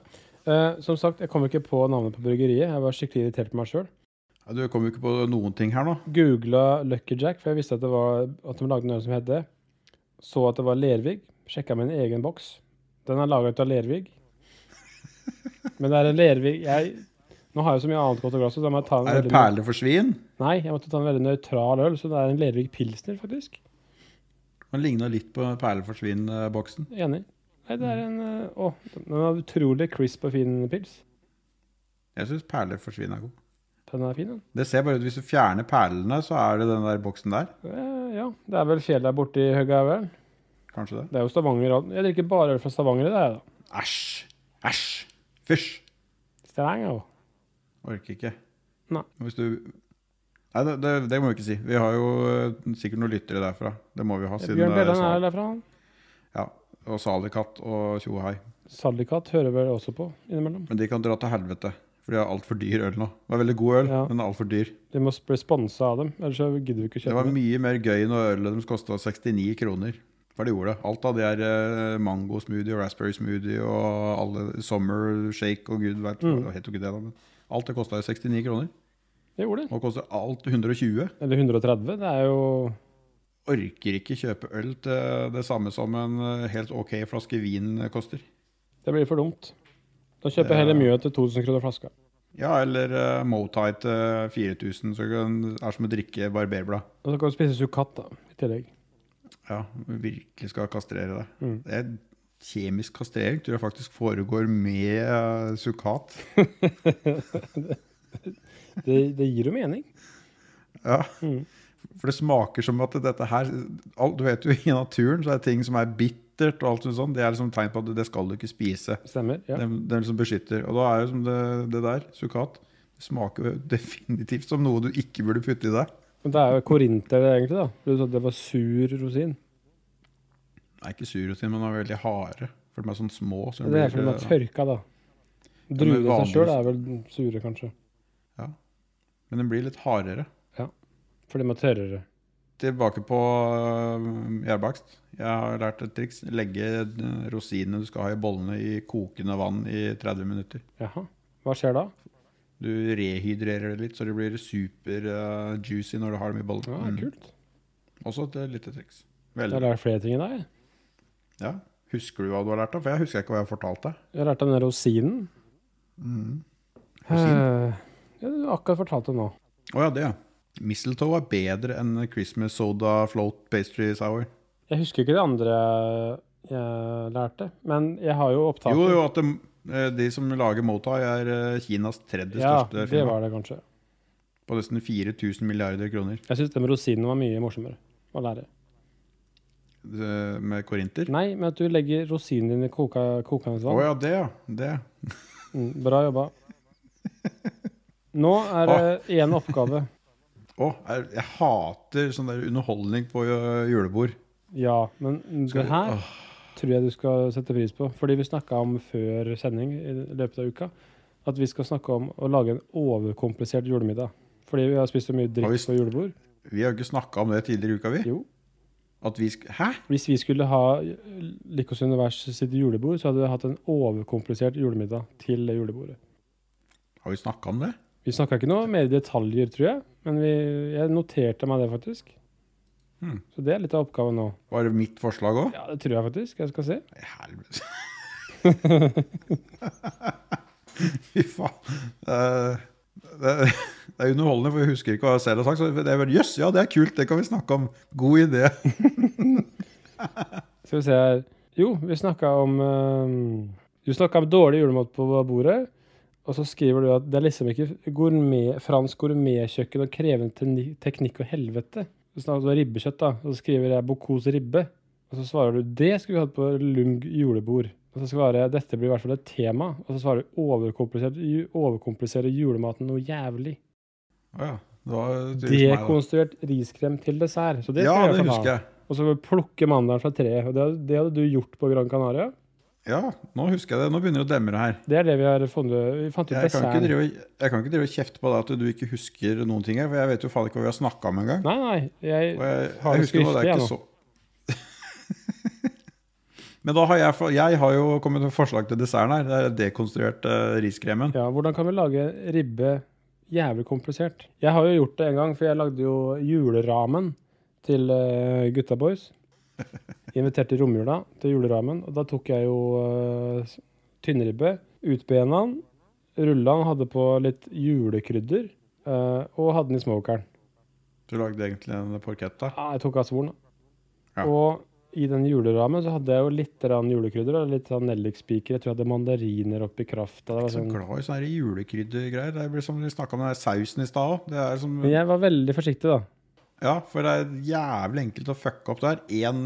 S1: Eh, som sagt, jeg kom ikke på navnet på bryggeriet. Jeg var skikkelig irritert på meg sjøl.
S2: Du kom jo ikke på noen ting her nå.
S1: Googla Lucky Jack, for jeg visste at, det var, at de lagde en øl som het det. Så at det var Lervig. Sjekka min egen boks. Den er laga ut av Lervig. Men det er en Lervig jeg, Nå har jeg så mye annet godt i glasset, så da må jeg ta en
S2: Er
S1: veldig-
S2: det perler for svin?
S1: Nei, jeg måtte ta en veldig nøytral øl, så det er en Lervig Pilsner, faktisk.
S2: Den ligna litt på perler for eh, svin-boksen.
S1: Enig. Nei, det
S2: Mm.
S1: er en eh, Å, den er utrolig crisp og fin pils.
S2: Jeg syns perler for svin er god.
S1: Den er fin, den.
S2: Det ser bare ut Hvis du fjerner perlene, så er det den der boksen der.
S1: Eh, ja, det er vel fjell der borte i Høgahaugen.
S2: Kanskje det.
S1: Det er jo Stavanger alt. Jeg drikker bare øl fra Stavanger i dag, da.
S2: Æsj! Æsj! Fysj!
S1: Stavanger.
S2: Orker ikke.
S1: Nei.
S2: Hvis du Nei, det, det, det må vi ikke si. Vi har jo eh, sikkert noen lyttere derfra. Det må vi ha. siden
S1: Bjørn
S2: det er
S1: Bjelland er
S2: Sal-
S1: vel derfra, han.
S2: Ja, Og Salikatt og Tjohei.
S1: Sallikat hører vel også på innimellom.
S2: Men de kan dra til helvete. For de har altfor dyr øl nå. Det var veldig god øl,
S1: Ja.
S2: men altfor dyr.
S1: Vi må bli sponsa av dem, ellers så gidder vi ikke å
S2: Det
S1: kjøpe
S2: var
S1: dem.
S2: mye mer gøy når ølet deres kosta 69 kroner. For det gjorde det. Alt av det er eh, mango smoothie og raspberry smoothie og alle summer shake og gud vet
S1: Mm.
S2: hva het jo ikke det, da. Men alt det kosta jo 69 kroner.
S1: Det gjorde de.
S2: Nå koster alt 120.
S1: Eller 130. Det er jo
S2: orker ikke kjøpe øl til det samme som en eh, helt ok flaske vin koster.
S1: Det blir for dumt. Da kjøper jeg
S2: Ja.
S1: heller mye til 2000 kroner flaska.
S2: Ja, eller uh, Motai til 4000, så kan, er som å drikke barberblad.
S1: Og så kan du spise sukat, da, i tillegg.
S2: Ja, virkelig skal kastrere deg.
S1: Mm.
S2: Det er kjemisk kastrering tror jeg faktisk foregår med eh, sukat.
S1: Det, det gir jo mening.
S2: Ja.
S1: Mm.
S2: For det smaker som at dette her alt, Du vet jo, i naturen så er det ting som er bittert og alt sånt. Det er liksom tegn på at det skal du ikke spise.
S1: Stemmer. ja.
S2: Den, den som liksom beskytter. Og da er jo som det, det der, sukat, det smaker jo definitivt som noe du ikke burde putte i deg.
S1: Men det er jo korinter, det, egentlig. da. Du sa at det var sur rosin.
S2: Nei, ikke sur rosin, men de er veldig harde. For de er sånn små. Så de
S1: Det er fordi de er
S2: blir, eh,
S1: tørka, da.
S2: men
S1: Druene i
S2: vanlig-
S1: seg sjøl er vel sure, kanskje.
S2: men de blir litt hardere.
S1: For de er tørrere.
S2: Tilbake på øh, gjærbakst. Jeg har lært et triks. Legge øh, rosinene du skal ha i bollene, i kokende vann i 30 minutter.
S1: Jaha. Hva skjer da?
S2: Du rehydrerer det litt, så det blir super-juicy når du har dem i bollen.
S1: Ja, Ah,
S2: Mm.
S1: Kult.
S2: Også et øh, lite triks.
S1: Jeg har
S2: Veldig.
S1: lært flere ting i dag. jeg.
S2: Ja. Husker du hva du har lært av? For jeg husker ikke hva jeg har fortalt deg.
S1: Jeg har lært om den rosinen.
S2: Mm.
S1: Rosin? Ja, du har akkurat fortalt det nå.
S2: Å ja, det, ja. Mistletoe er bedre enn Christmas soda float pastry sour.
S1: Jeg husker ikke det andre jeg lærte, men jeg har jo opptak.
S2: Jo, jo, at de, eh, de som lager Motai, er eh, Kinas tredje
S1: ja,
S2: største
S1: det
S2: firma.
S1: var det kanskje.
S2: På nesten 4000 milliarder kroner
S1: Jeg syns det med rosinen var mye morsommere å lære.
S2: eh, med korinter.
S1: Nei, men at du legger rosinen din i koka, kokende
S2: Å
S1: vann.
S2: ja, det, ja. Det.
S1: Mm, bra jobba. Nå er
S2: Ah.
S1: det én oppgave.
S2: Å, jeg, jeg hater sånn der underholdning på eh, julebord.
S1: Ja, men
S2: Skal
S1: det
S2: vi- ah.
S1: her
S2: Åh.
S1: tror jeg du skal sette pris på. Fordi vi snakka om før sending i løpet av uka at vi skal snakke om å lage en overkomplisert julemiddag. Fordi vi har spist så mye
S2: Har vi
S1: dritt
S2: s-
S1: på julebord.
S2: Vi har jo ikke snakka om det tidligere i uka, vi.
S1: Jo.
S2: At vi sk Hæ?
S1: Hvis vi skulle ha Likos univers sitt julebord, så hadde vi hatt en overkomplisert julemiddag til det julebordet.
S2: Har vi snakka om det?
S1: Vi snakka ikke noe mer i detaljer, tror jeg, men vi, jeg noterte meg det, faktisk.
S2: Hmm.
S1: Så det er litt av oppgaven nå.
S2: Var det mitt forslag òg?
S1: Ja, det tror jeg faktisk. Jeg skal se.
S2: Helvete. Fy faen. Eh, Det, det er underholdende, for jeg husker ikke hva jeg selv har sagt. Så det er bare, Jøss, ja, det er kult, det kan vi snakke om. God idé.
S1: Skal vi se her Jo, vi snakka om eh, Du snakka om dårlig julemat på bordet. Og så skriver du at det er liksom ikke gourmet, fransk gourmetkjøkken og krevende tekni- teknikk og helvete. Du snakker om ribbekjøtt, da. Og så skriver jeg Bocuse ribbe. Og så svarer du det skulle vi hatt på Lung julebord. Og så svarer jeg dette blir i hvert fall et tema. Og så svarer du overkomplisert, ju- overkomplisere julematen noe jævlig.
S2: Å ja. Det var tydeligvis meg, da.
S1: Dekonstruert riskrem til dessert. Så det
S2: ja,
S1: skal jeg i
S2: det
S1: hvert fall
S2: husker
S1: ha.
S2: jeg.
S1: Og så plukke mandelen fra treet. Og det, det hadde du gjort på Gran Canaria?
S2: Ja, nå husker jeg det. Nå begynner det å demre her.
S1: Det er det vi har funnet. Vi fant ut
S2: Jeg kan,
S1: desserten.
S2: ikke drive, og- jeg kan ikke drive og kjefte på deg at du ikke husker noen ting her, for jeg vet jo faen ikke hva vi har snakka om engang.
S1: Nei, nei. Jeg,
S2: Og jeg,
S1: Har
S2: jeg
S1: du
S2: husker noe, det er
S1: skriftlig,
S2: ikke så Men da har jeg, for- jeg har jo kommet med forslag til desserten her. Det er dekonstruert eh, riskremen.
S1: ja, hvordan kan vi lage ribbe jævlig komplisert? Jeg har jo gjort det en gang, for jeg lagde jo juleramen til eh, gutta boys. Inviterte i romjula til juleramen, og da tok jeg jo eh, s- tynnribbe, utbena den, rulla den, hadde på litt julekrydder, eh, og hadde den i smokeren.
S2: Du lagde egentlig en porkett da?
S1: Ja, jeg tok av svoren. da.
S2: Ja.
S1: Og i den juleramen så hadde jeg jo litt grann julekrydder og litt sånn nellikspiker. Jeg tror jeg hadde mandariner oppi krafta. Det var
S2: Så
S1: sånn.
S2: glad i sånne her julekryddergreier. Det blir som vi snakka om den her sausen i stad òg. Det er som
S1: Men jeg var veldig forsiktig, da.
S2: Ja, for det er jævlig enkelt å fucke opp der. Én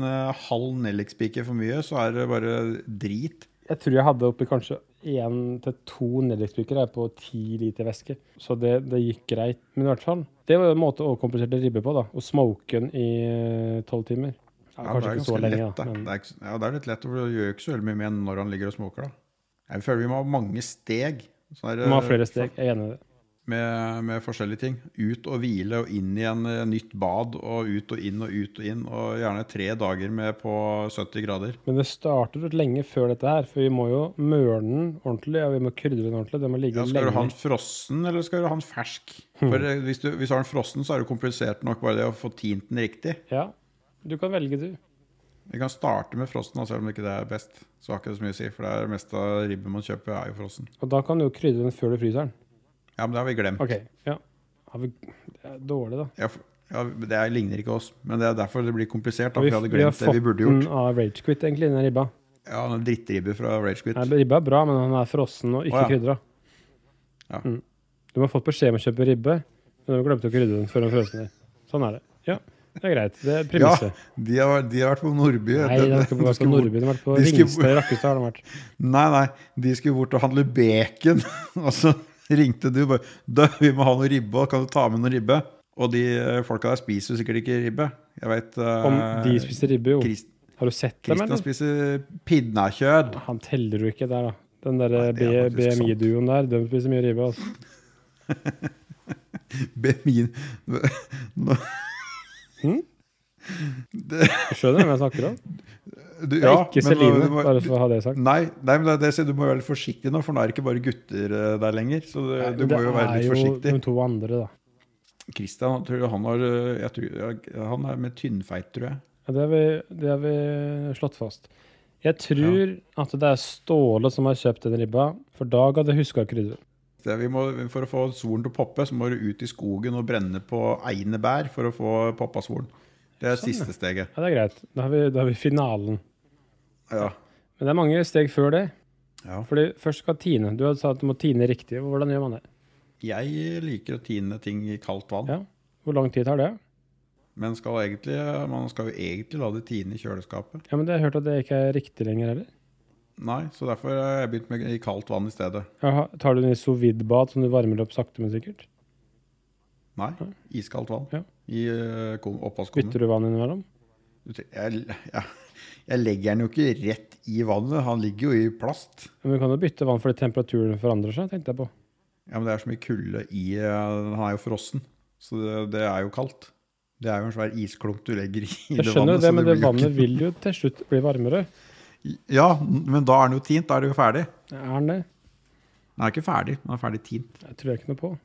S2: halv nellikspiker for mye, så er det bare drit.
S1: Jeg tror jeg hadde oppi kanskje én til to nellikspiker her på ti liter væske. Så det, det gikk greit. Men i hvert fall, det var jo en måte å overkompensere ribbe på, da. Å smoke den i eh, tolv timer. Ja,
S2: Ja, det
S1: kanskje
S2: er
S1: ikke så
S2: ganske
S1: lenge,
S2: lett,
S1: da.
S2: da.
S1: Men
S2: Det er, ikke- ja, det er litt lett, for du gjør jo ikke så veldig mye med den når han ligger og smoker, da. Jeg føler vi må ha mange steg. Sånn her,
S1: man har
S2: eh,
S1: flere steg. Jeg er enig i det.
S2: Med, med forskjellige ting. Ut og hvile, og inn igjen, eh, nytt bad, og ut og inn og ut og inn. Og gjerne tre dager med på 70 grader.
S1: Men det starter ut lenge før dette her, for vi må jo møre den ordentlig, og vi må krydre den ordentlig. Den må ligge
S2: Ja, skal du ha den
S1: lenge. Hmm.
S2: frossen, eller skal du ha den fersk? For eh, hvis du, hvis du har den frossen, så er det komplisert nok bare det å få tint den riktig.
S1: Ja, du kan velge, du.
S2: Vi kan starte med frossen, da, selv om ikke det er best. Så har ikke det så mye å si, for det er det meste av ribben man kjøper, er jo frossen.
S1: Og da kan du jo krydre den før du fryser den.
S2: Ja, men det har vi glemt.
S1: OK. Ja. Har vi, det er dårlig, da.
S2: Ja, for- ja, det er- ligner ikke oss, men det er derfor det blir komplisert. Da, for vi hadde
S1: har
S2: glemt det vi
S1: fått
S2: burde gjort.
S1: den av Ragequit, egentlig, den ribba.
S2: Ja, den drittribbe fra Ragequit.
S1: Nei, ribba er bra, men den er frossen og ikke
S2: Å, ja.
S1: krydra.
S2: Ja.
S1: Mm. Du har fått beskjed om å kjøpe ribbe, men du glemte å krydre den før den frøsner. Sånn er det. Ja, det er greit. Det er
S2: Ja,
S1: premisset.
S2: de har, vært- de har vært på Nordby.
S1: Nei, den har ikke vært på Nordby, den har vært på
S2: de skulle-
S1: Ringstad i Rakkestad. har den vært.
S2: Nei, nei, de skulle bort og handle bacon, og så ringte du bare Du, vi må ha noe ribbe, og kan du ta med noe ribbe? Og de eh, folka der spiser jo sikkert ikke ribbe. Jeg vet eh,
S1: Om de spiser ribbe, jo.
S2: Krist-
S1: Har du sett dem,
S2: Christian
S1: eller?
S2: spiser pinnekjød.
S1: Han teller jo ikke der, da. Den derre
S2: Nei, det er faktisk sant.
S1: BMI-duoen der, de spiser mye ribbe. Altså.
S2: Bemin Nå-
S1: Hm?
S2: Det-
S1: Skjønner du hvem jeg snakker om?
S2: du,
S1: Det er ikke
S2: men eh, nå-
S1: Celine,
S2: du må-
S1: bare for å ha det sagt.
S2: Nei, nei, men det, er det, så du må være litt forsiktig nå, for nå er det ikke bare gutter eh, der lenger. Så det,
S1: Nei,
S2: du
S1: men
S2: må jo være
S1: er
S2: litt
S1: De
S2: forsiktig.
S1: to andre, da.
S2: Christian, jeg tror han, har, eh, jeg tror, ja, han er med tynnfeit, tror jeg.
S1: Ja, det, har vi, det har vi slått fast. Jeg tror at det er Ståle som har kjøpt den ribba, for Dag hadde huska krydder.
S2: Det, vi må, for å få svoren til å poppe, så må du ut i skogen og brenne på einebær for å få poppa svoren. Det er
S1: Sånn, ja.
S2: siste steget.
S1: Ja, det er greit. Da har vi, da har vi finalen.
S2: Ja.
S1: Men det er mange steg før det.
S2: ja.
S1: Fordi først skal tine. Du hadde sagt at du må tine riktig. Hvordan gjør man det?
S2: Jeg liker å tine ting i kaldt vann,
S1: Ja. Hvor lang tid tar det?
S2: men skal egentlig, man skal jo egentlig la det tine i kjøleskapet.
S1: Ja, men det har jeg hørt at det ikke er riktig lenger heller.
S2: Nei, så derfor har jeg begynt med i kaldt vann i stedet.
S1: Jaha, tar du den i sous vide-bad som du varmer opp sakte, men sikkert?
S2: Nei, iskaldt vann
S1: Ja.
S2: i eh, kom- oppvaskkummen.
S1: Bytter du vann innimellom?
S2: Du tre- Jeg, jeg, jeg legger den jo ikke rett i vannet, han ligger jo i plast.
S1: Ja, Men du kan jo bytte vann fordi temperaturen forandrer seg, tenkte jeg på.
S2: Ja, men det er så mye kulde i eh, Han er jo frossen, så det, det er jo kaldt. Det er jo en svær isklump du legger i
S1: Jeg skjønner jo det,
S2: så
S1: men det
S2: blir jo
S1: vannet vil jo til slutt bli varmere.
S2: ikke- Ja, men da er den jo tint. Da er det jo ferdig.
S1: Er den det?
S2: Den er ikke ferdig, den er ferdig tint.
S1: Jeg tror jeg ikke noe på.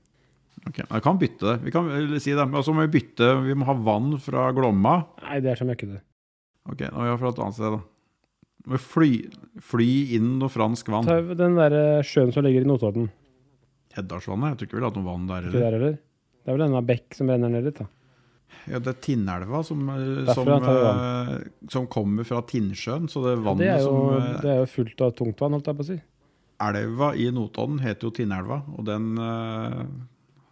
S2: Ok, Jeg kan bytte det. Vi kan eller si det. Men så må vi bytte Vi må ha vann fra Glomma.
S1: Nei, det er som jeg ikke det.
S2: Ok, nå er vi fra et annet sted, da. Vi må fly, fly inn noe fransk vann.
S1: Ta den derre sjøen som ligger i Notodden.
S2: Heddalsvannet? Jeg tror ikke vi har hatt noe vann der
S1: Ikke der
S2: heller.
S1: heller. Det er vel denne bekk som renner ned litt, da.
S2: Ja, det er Tinnelva som, eh,
S1: Derfra
S2: som,
S1: tar vi
S2: eh, som kommer fra Tinnsjøen. Så det vannet
S1: Det er jo,
S2: som eh,
S1: det er jo fullt av tungtvann, holdt jeg på å si.
S2: Elva i Notodden heter jo Tinnelva, og den eh,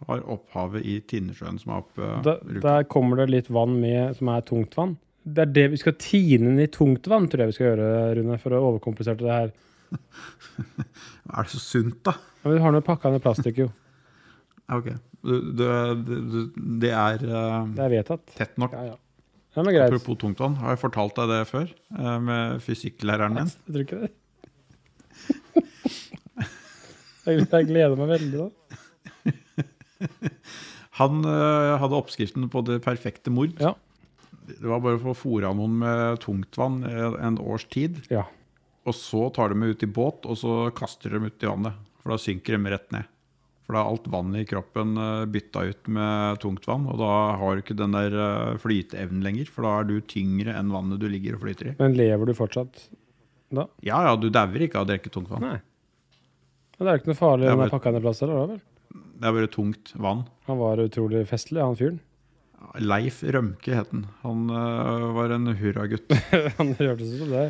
S2: har opphavet i Tinnesjøen som er oppe
S1: Da, der kommer det litt vann med som er tungtvann. Det er det vi skal tine den i tungtvann, tror jeg vi skal gjøre, Rune, for å overkompensere det her.
S2: Er det så sunt, da?
S1: Ja, Men vi har nå pakka ned plastikk, jo.
S2: Ja, ok. Du, du, du, du, det er eh,
S1: Det er vedtatt.
S2: tett nok.
S1: Ja, ja. Ja, men greit.
S2: Apropos tungtvann, har jeg fortalt deg det før? eh, Med fysikklæreren min?
S1: Jeg tror ikke det. Jeg gleder- jeg gleder meg veldig, da.
S2: Han eh, hadde oppskriften på det perfekte mord.
S1: Ja.
S2: Det var bare for å fôre noen med tungtvann eh, en års tid.
S1: Ja.
S2: Og så tar de dem ut i båt, og så kaster de dem ut i vannet. For da synker de rett ned. For da er alt vannet i kroppen eh, bytta ut med tungtvann, og da har du ikke den der eh, flyteevnen lenger, for da er du tyngre enn vannet du ligger og flyter i.
S1: Men lever du fortsatt?
S2: Ja ja, du dauer ikke av å drikke tungtvann.
S1: Nei. Men det er jo ikke noe farlig
S2: Ja,
S1: om
S2: men-
S1: jeg pakka ned plass eller hva vel?
S2: Det er bare tungt vann.
S1: Han var utrolig festlig, han fyren.
S2: Leif Rømke het han. Han eh, var en hurragutt.
S1: Han hørtes ut som det.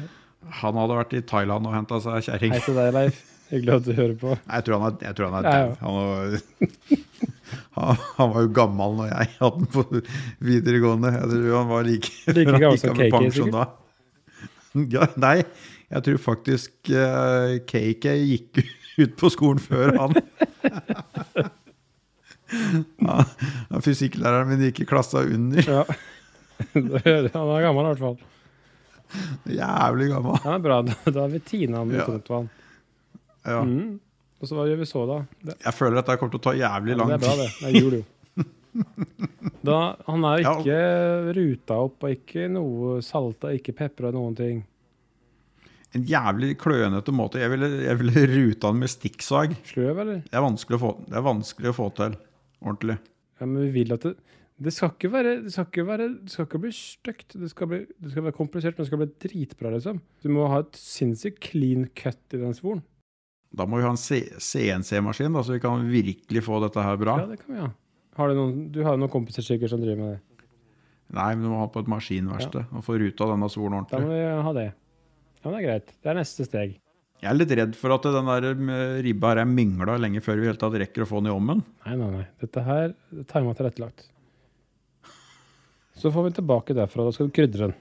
S2: Han hadde vært i Thailand og henta seg kjerring.
S1: Hei til deg, Leif. Hyggelig at du hører på.
S2: Nei, Jeg tror han er, jeg tror han er
S1: Ja,
S2: dau. Han, var- han, han var jo gammel når jeg hadde den på videregående. Jeg tror han var like,
S1: Like
S2: før han
S1: gammel
S2: gikk
S1: som
S2: av med
S1: KK,
S2: pensjon da. Ja, nei, jeg tror faktisk eh, KK gikk ut på skolen før han. Ja, ja, Fysikklæreren min gikk i klassa under.
S1: Ja. Det hører- Han er gammel, i hvert fall.
S2: Jævlig gammel.
S1: Ja, men bra. Da da har vi tina med
S2: Ja.
S1: tungtvann.
S2: Ja.
S1: Mm. Og så hva gjør vi så, da? Det,
S2: Jeg føler at det kommer til å ta jævlig
S1: ja,
S2: lang
S1: det er bra,
S2: tid.
S1: det. Det er jul, jo. Da, han er
S2: Ja,
S1: jo
S2: og-
S1: ikke ruta opp, og ikke noe salta, ikke pepra, noen ting.
S2: En jævlig klønete måte. Jeg ville, jeg ville ruta den med stikksag.
S1: Sløv, eller?
S2: Det er vanskelig å få, det er vanskelig å få til ordentlig.
S1: Ja, men vi vil at det Det skal ikke være Det skal ikke, være, det skal ikke bli stygt. Det, skal bli- det skal være komplisert, men det skal bli dritbra, liksom. Du må ha et sinnssykt clean cut i den svoren.
S2: Da må vi ha en C- CNC-maskin, da, så vi kan virkelig få dette her bra.
S1: Ja, det kan vi ha. Har du, noen, du har jo noen kompiser sikkert som driver med det.
S2: Nei, men du må ha på et maskinverksted og få ruta denne solen
S1: Da må
S2: ordentlig.
S1: vi ha det. Ja, men det er greit. Det er neste steg.
S2: Jeg er litt redd for at den der eh, ribba her er mingla lenge før vi helt tatt rekker å få den i ommen.
S1: Nei, nei, nei. Dette her det er timet tilrettelagt. Så får vi tilbake derfra. Da skal du krydre den.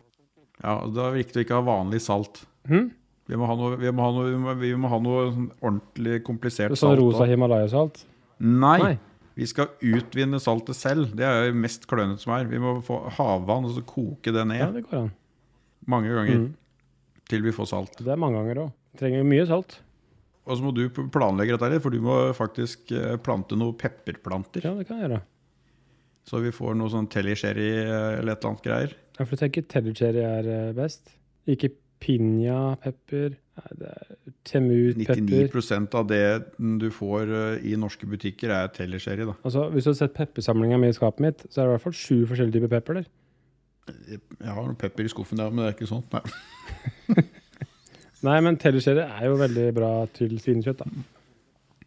S2: Ja, og Da er det viktig å ikke ha vanlig salt.
S1: Hm?
S2: Vi må ha noe, vi må ha noe, vi må, vi må ha noe sånn ordentlig komplisert
S1: Sånn
S2: salt.
S1: rosa
S2: også.
S1: Himalaya-salt?
S2: Nei,
S1: Nei.
S2: Vi skal utvinne saltet selv. Det er jo det mest klønete som er. Vi må få havvann og så koke det
S1: Ja,
S2: ned
S1: det Mm. går an.
S2: mange ganger til vi får salt.
S1: Det er mange ganger òg. Trenger jo mye salt.
S2: Og så må du planlegge dette, her, for du må faktisk eh, plante noen pepperplanter.
S1: Ja, det kan jeg gjøre.
S2: Så vi får noe sånn telly-sherry eh, eller et eller annet greier.
S1: Ja, for du tenker Teddy Cherry er eh, best? Ikke piña pepper? Nei, det er temut pepper.
S2: 99 av det du får eh, i norske butikker, er telly-sherry. da.
S1: Altså, hvis du hadde sett peppersamlinga mi i skapet mitt, så er det i hvert fall sju forskjellige typer pepper der.
S2: Jeg har noe pepper i skuffen, der, men det er ikke sånn. Nei.
S1: Nei, men Teddy Cherry er jo veldig bra til svinekjøtt, da.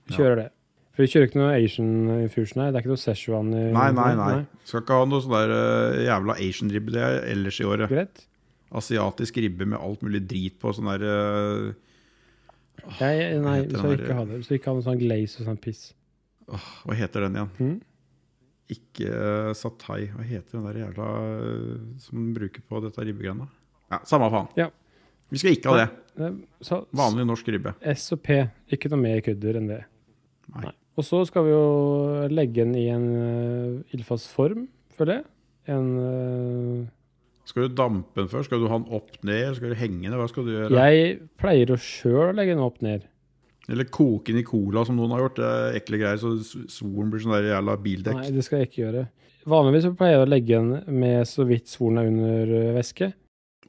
S1: Vi kjører det. For vi kjører ikke noe Asian infusion her. Det er ikke noe Szechuan. i-
S2: Nei, nei, nei. Skal ikke ha noe sånn der eh, jævla Asian ribbe det er ellers i året.
S1: Greit.
S2: Asiatisk ribbe med alt mulig drit på. Sånn der eh,
S1: Jeg, nei,
S2: heter
S1: vi
S2: den
S1: skal
S2: der-
S1: ikke ha det. Vi skal ikke ha noe sånn glaze og sånn piss.
S2: Hva heter den igjen?
S1: Mhm.
S2: Ikke eh, satai. Hva heter den der jævla eh, som de bruker på dette ribbegreiene? Ja, samme faen.
S1: Ja.
S2: Vi skal ikke ha
S1: Det
S2: det.
S1: er Eh, Så,
S2: Vanlig norsk ribbe.
S1: S og P. Ikke noe mer krydder enn det.
S2: Nei.
S1: Og så skal vi jo legge den i en uh, ildfast form, føler jeg. En, eh,
S2: Skal du dampe den først? Skal du ha den opp ned? Skal du henge den? Hva skal du gjøre?
S1: jeg pleier å sjøl legge den opp ned.
S2: Eller koke den i cola, som noen har gjort. Det er ekle greier, så s- svoren blir sånn der jævla bildekk.
S1: Nei, det skal jeg ikke gjøre. Vanligvis så pleier jeg å legge den med så vidt svoren er under eh, væske.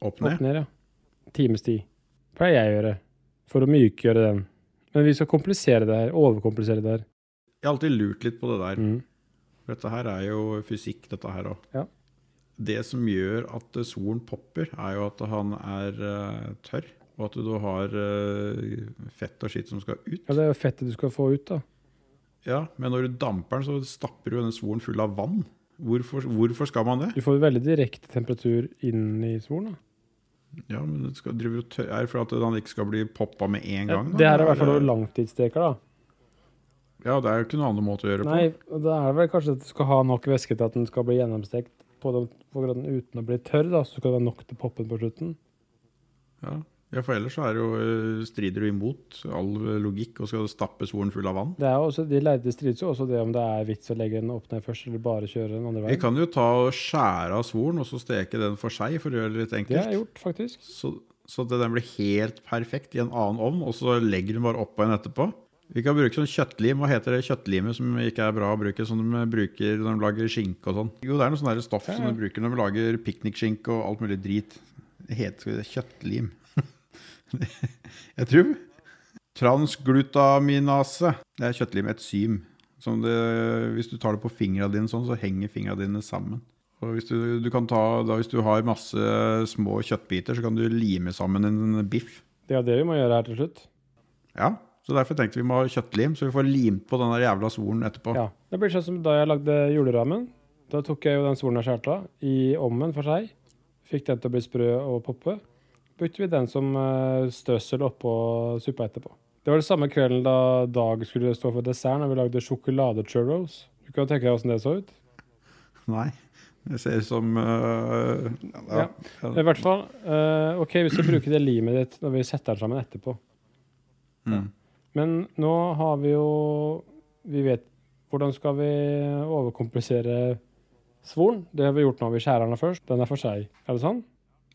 S2: Opp
S1: Opp
S2: ned.
S1: ned, ja. Times tid. Pleier jeg å gjøre. For å mykgjøre den. Men vi skal komplisere det her. Overkomplisere det her.
S2: Jeg har alltid lurt litt på det der.
S1: Mm.
S2: For dette her er jo fysikk, dette her òg.
S1: Ja.
S2: Det som gjør at eh, solen popper, er jo at han er eh, tørr, og at du da har eh, fett og skitt som skal ut.
S1: Ja, det er jo fettet du skal få ut, da.
S2: Ja, Men når du damper den, så stapper du denne svoren full av vann. Hvorfor, hvorfor skal man det?
S1: Du får veldig direkte temperatur inn i svoren. da.
S2: Ja, men det skal, driver og tør, Er det for at han ikke skal bli poppa med en
S1: Ja,
S2: gang? da?
S1: det her er i hvert fall
S2: Eller-
S1: noe langtidssteker, da.
S2: Ja, det er jo ikke noen annen måte å gjøre det
S1: Nei, og da er det vel kanskje at du skal ha nok væske til at den skal bli gjennomstekt på den, på den uten å bli tørr, da, så skal det være nok til poppen på slutten.
S2: på. Ja. ja, for ellers så er det jo, eh, strider du imot all eh, logikk og skal stappe svoren full av vann.
S1: Det er jo også, de lærde strides jo også det om det er vits å legge den opp ned først, eller bare kjøre den andre
S2: Vi
S1: veien.
S2: kan jo ta og skjære av svoren og så steke den for seg, for å gjøre det litt
S1: Det har
S2: enkelt.
S1: jeg gjort, faktisk.
S2: Så, så at den blir helt perfekt i en annen ovn, og så legger du den bare oppå en etterpå. Vi kan bruke sånn kjøttlim. Hva heter det kjøttlimet som ikke er bra å bruke? Som de bruker når de lager skinke og sånn. Jo, det er noe sånn der stoff
S1: Ja, ja.
S2: som de bruker når de lager piknikskinke og alt mulig drit. Det heter kjøttlim. Jeg tror Transglutaminase. Det er kjøttlim, et sym. Som det, hvis du tar det på fingra dine sånn, så henger fingra dine sammen. Og hvis du, du kan ta, da, hvis du har masse små kjøttbiter, så kan du lime sammen en biff.
S1: Det er jo det vi må gjøre her til slutt.
S2: Ja, så Derfor tenkte vi må ha kjøttlim, så vi får limt på den der jævla svoren etterpå.
S1: Ja. Det blir sånn som da jeg lagde julerammen. Da tok jeg jo den svoren jeg skjærte av, i ommen for seg. Fikk den til å bli sprø og poppe. Brukte vi den som eh, strøssel oppå suppa etterpå. Det var det samme kvelden da Dag skulle stå for desserten, og vi lagde sjokolade-churros. Du kan tenke deg åssen det så ut.
S2: Nei, det ser ut som øh, ja.
S1: Men I hvert fall, eh, OK, vi skal bruke det limet ditt når vi setter den sammen etterpå.
S2: Mm.
S1: Men nå har vi jo Vi vet Hvordan skal vi overkomplisere svoren? Det har vi gjort nå. Vi skjærer den først. Den er for seg. Er det sånn?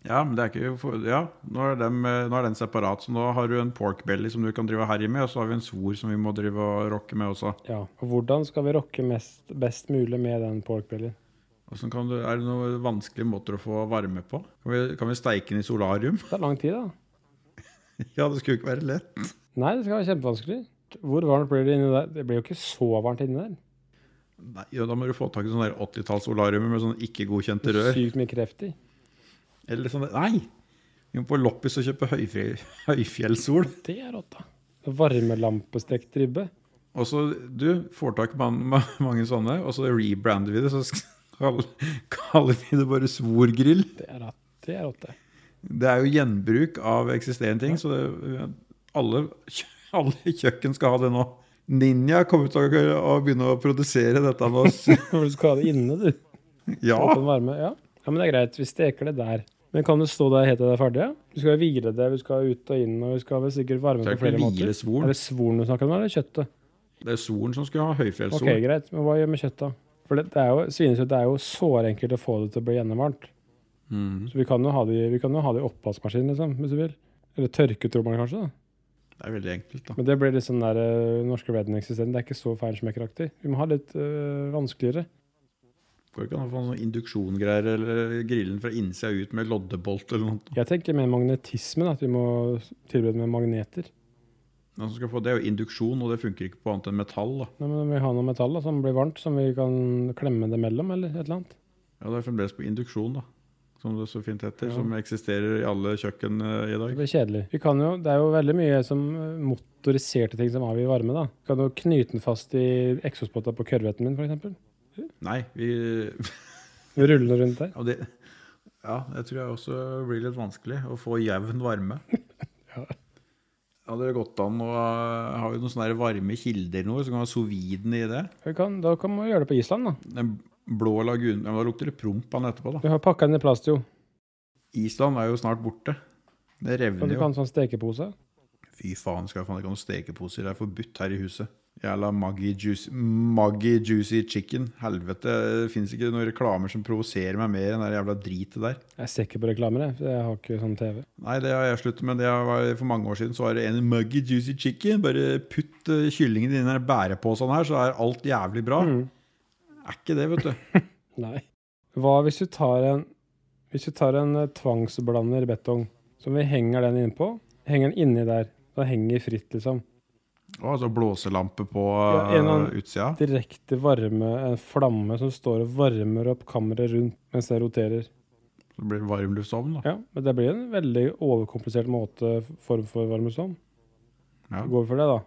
S2: Ja, men det er ikke for- Ja, nå er, dem, eh, nå er den separat. Så nå har du en pork belly som du kan drive og herje med, og så har vi en svor som vi må drive og rocke med også.
S1: Ja. Og hvordan skal vi rocke mest, best mulig med den porkbellyen?
S2: Hvordan kan du, er det noen vanskelige måter å få varme på? Kan vi, kan vi steike den i solarium?
S1: Det tar lang tid, da.
S2: Ja, det skulle jo ikke være lett.
S1: Nei, det skal være kjempevanskelig. Hvor varmt blir det inni der? Det blir jo ikke så varmt inni der.
S2: Nei, ja, da må du få tak i sånne der 80-talls-solariumer med sånne
S1: Det
S2: ikke-godkjente
S1: er
S2: rør.
S1: Sykt mye kreft i.
S2: Eller sånne Nei! Vi må på loppis og kjøpe høyfri- høyfjellssol.
S1: Det er rått, da. Varmelampestekt ribbe.
S2: Og så du får tak i man, ma- mange sånne, og så rebrander vi det. Så skal, kaller vi det bare svorgrill.
S1: Det er rått, det. er rått, det.
S2: Det er jo gjenbruk av eksisterende ting, så det, alle, kjø- alle kjøkken skal ha det nå. Ninja kommer til å å begynne å produsere dette nå. s-
S1: Du skal ha det inne, du.
S2: Ja,
S1: Åpen varme, ja. ja, men det er greit. Vi steker det der. Men kan det stå der helt til det er ferdig? ja? Vi skal jo hvile det, vi skal ut og inn, og vi skal vel sikkert varme
S2: Det
S1: det
S2: er
S1: på flere
S2: ikke
S1: måter.
S2: hvilesvoren.
S1: Er det svoren du snakker om, eller kjøttet?
S2: Det er solen som skulle ha høyfjellssol.
S1: Ok, greit, men hva gjør med kjøttet? For det, det er jo, svinekjøtt det er jo sårenkelt å få det til å bli gjennomvarmt.
S2: Mhm.
S1: Så vi kan jo ha det, i- vi kan jo ha det i oppvaskmaskinen, liksom, hvis du vil. Eller tørketrommelen, kanskje. da.
S2: Det er veldig enkelt, da.
S1: Men det blir litt sånn der eh, norske redningssystem. Det er ikke så feinschmeckeraktig. Vi må ha litt eh, vanskeligere.
S2: Går det ikke an å få sånn induksjongreier eller grillen fra innsida ut med loddebolt eller noe?
S1: Jeg tenker mer magnetisme, da, at vi må tilberede med magneter.
S2: Den som skal få det, er jo induksjon, og det funker ikke på annet enn metall. da.
S1: Nei, men vi har noe metall da, som blir varmt, som vi kan klemme det mellom, eller et eller annet.
S2: Ja, Det er fremdeles på induksjon, da. Som det så fint heter.
S1: Ja.
S2: Som eksisterer i alle kjøkken eh, i
S1: Det
S2: dag.
S1: blir kjedelig. Vi kan jo, det er jo veldig mye som eh, motoriserte ting som avgir varme, da. Vi kan jo knyte den fast i eksospotta på kørveten min, for eksempel.
S2: Nei, vi
S1: Rulle den rundt der.
S2: ja, det, ja, jeg tror jeg også blir litt vanskelig å få jevn varme. Hadde det gått an å eh, Har vi noen sånne her varme kilder nå, så kan vi ha sous viden i det?
S1: Vi kan, da kan man gjøre det på Island, da.
S2: Den blå lagunen ja, men Da lukter det promp av den etterpå, da.
S1: Vi har pakka den i plast, jo.
S2: Island er jo snart borte. Det
S1: Og
S2: revner
S1: du
S2: jo.
S1: kan ha sånn stekepose.
S2: Fy faen, skal jeg faen ikke ha noen stekeposer. Det er forbudt her i huset. Jævla Maggi Juicy, Maggi juicy Chicken. Helvete, det fins ikke noen reklamer som provoserer meg mer enn det jævla dritet der.
S1: Jeg ser ikke på reklamer, jeg. for Jeg har ikke sånn TV.
S2: Nei, det har jeg sluttet med. Det var For mange år siden så var det en Maggi Juicy Chicken. Bare putt eh, kyllingen i den der bæreposen her, så er alt jævlig bra.
S1: Mm.
S2: Er ikke det, vet du.
S1: Nei. Hva hvis du tar en Hvis du tar en eh, tvangsblander betong, som vi henger den innpå, henger den inni der. Den henger fritt, liksom.
S2: Og altså blåselampe på
S1: Ja, en av-
S2: eh, utsida.
S1: Direkte varme, en flamme som står og varmer opp kammeret rundt mens det roterer.
S2: Så blir det varmluftsovn, da.
S1: Ja, men det blir en veldig overkomplisert måte form for varmestånd.
S2: Ja.
S1: Går vi for det, da?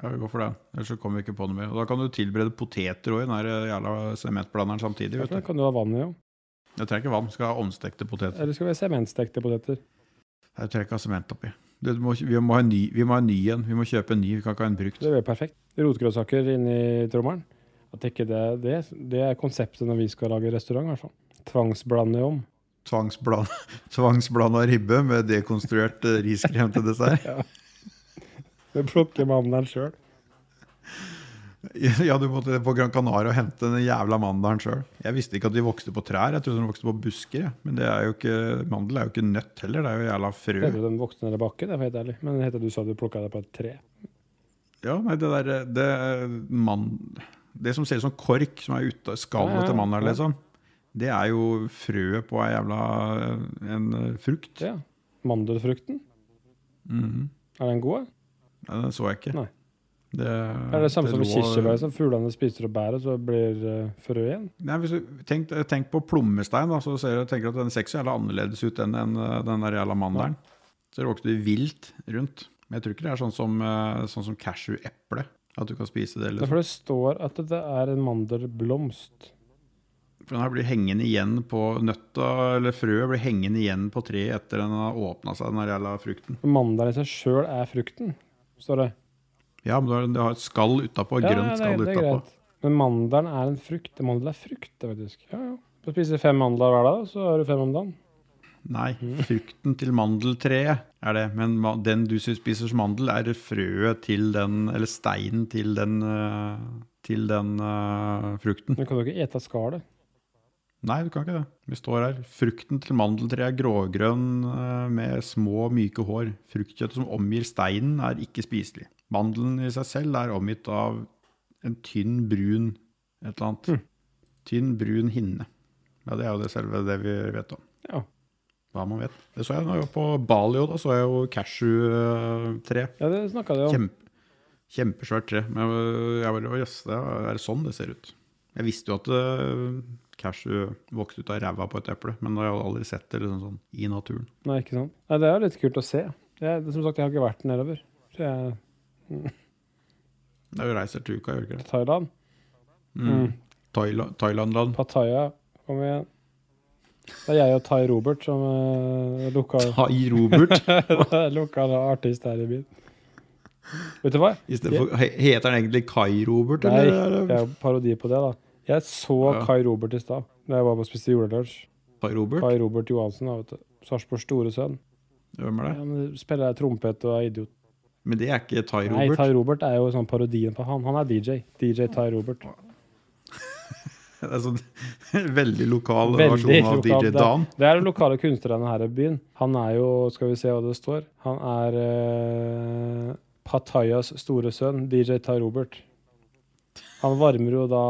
S2: Ja, vi går for det. Ellers så kommer vi ikke på noe mer. Og da kan du tilberede poteter òg i den her eh, jævla sementblanderen samtidig.
S1: Ja, for
S2: vet
S1: Da
S2: du.
S1: kan du ha vann i òg.
S2: Jeg trenger ikke vann, skal ha ovnstekte poteter.
S1: Eller skal vi ha sementstekte poteter?
S2: Jeg trenger ikke ha sement oppi. Du, du må, vi, må ha en ny, vi må ha en ny en. Vi må kjøpe en ny, vi kan ikke ha en brukt.
S1: Det blir perfekt. Rotgrønnsaker inni trommelen. At ikke det, det, det er konseptet når vi skal lage restaurant, i hvert fall. Tvangsblande om.
S2: Tvangsblanda, tvangsblanda ribbe med dekonstruert eh, riskrem til dessert.
S1: Det plukker mandelen sjøl.
S2: Ja, du måtte på Gran Canaria og hente den jævla mandelen sjøl. Jeg visste ikke at de vokste på trær, jeg trodde de vokste på busker. jeg. Men det er jo ikke, mandel er jo ikke nøtt heller, det er jo jævla frø.
S1: Trodde den vokste ned i bakken, det er for helt ærlig. Men det heter du sa du plukka det på et tre.
S2: Ja, nei, det der Det, man, det som ser ut som kork som er ute skallet
S1: Ja, ja,
S2: til mandelen,
S1: ja.
S2: liksom. Det er jo frøet på ei jævla en eh, frukt.
S1: Ja. Mandelfrukten.
S2: Mhm.
S1: Er den god?
S2: Nei, Den så jeg ikke.
S1: Nei.
S2: Det,
S1: Er det det samme som
S2: lå-
S1: kirsebær? Som fuglene spiser opp bæret, så blir eh, frø igjen?
S2: Nei, hvis du, tenk, tenk på plommestein, da, så ser du, tenker du at den ser ikke så jævla annerledes ut enn den, den der jævla mandelen. Så det vokser vilt rundt. Men jeg tror ikke det er sånn som, eh, sånn som cashew-eple. At du kan spise det.
S1: Det er
S2: Liksom.
S1: for det står at det er en mandelblomst.
S2: For den her blir hengende igjen på nøtta, eller frøet blir hengende igjen på treet etter den har åpna seg, den her jævla frukten.
S1: Mandelen i seg sjøl er frukten, står det.
S2: Ja, men du har, det har et skall utapå,
S1: Ja,
S2: grønt
S1: ja, det-
S2: skall
S1: det er
S2: utapå.
S1: greit. Men mandelen er en frukt. Mandel er frukt, det faktisk. Ja, ja. Du spiser fem mandler hver dag, så har du fem om dagen.
S2: Nei, frukten til mandeltreet er det, men ma- den du spiser som mandel, er frøet til den, eller steinen til den, øh, til den øh, frukten.
S1: Men kan du ikke ete av skallet?
S2: Nei, du kan ikke det. Vi står her. Frukten til mandeltreet er grågrønn øh, med små, myke hår. Fruktkjøttet som omgir steinen, er ikke spiselig. Mandelen i seg selv er omgitt av en tynn, brun et eller annet. Tynn, brun hinne. Ja, det er jo det selve det vi vet om.
S1: Ja.
S2: Hva man vet. Det så jeg når jeg var på Bali, og da så jeg jo cashew-tre.
S1: ja, det snakka du om.
S2: Kjempe, kjempesvært tre. Men øh, jeg bare, «Å, jøss, det er- er det sånn det ser ut? Jeg visste jo at øh, cashew vokste ut av ræva på et eple, men jeg hadde aldri sett det liksom sånn i naturen.
S1: Nei, ikke sant? Nei, det er jo litt kult å se. Jeg, som sagt, jeg har ikke vært nedover. Så jeg,
S2: Det er jo reiser til uka, gjør det ikke det?
S1: Thailand.
S2: Mm. Thaila- Thailandland.
S1: Pattaya, kom igjen. Det er jeg og Tai Robert som uh, lokal,
S2: Tai Robert.
S1: lokal artist her i byen. Vet du hva?
S2: I stedet for, he- heter han egentlig Kai Robert,
S1: Nei,
S2: eller er
S1: det
S2: det
S1: er jo parodi på det, da. Jeg så
S2: Ja.
S1: Kai Robert i stad, da jeg var på og spiste julelunsj.
S2: Tai Robert?
S1: Kai Robert Johansen, da, vet du. Sarpsborgs store sønn.
S2: Hvem er det?
S1: Han spiller trompet og er idiot.
S2: Men det er ikke Tai
S1: Nei,
S2: Robert.
S1: Tai Robert er jo sånn parodien på han. Han er DJ. DJ Tai Robert.
S2: Det er sånn veldig lokal
S1: Veldig
S2: versjon av
S1: lokal.
S2: DJ
S1: Det-
S2: Dan.
S1: Det er de lokale kunstnerne her i byen. Han er jo, skal vi se hva det står Han er eh, Pattayas store sønn, DJ Tai Robert. Han varmer jo da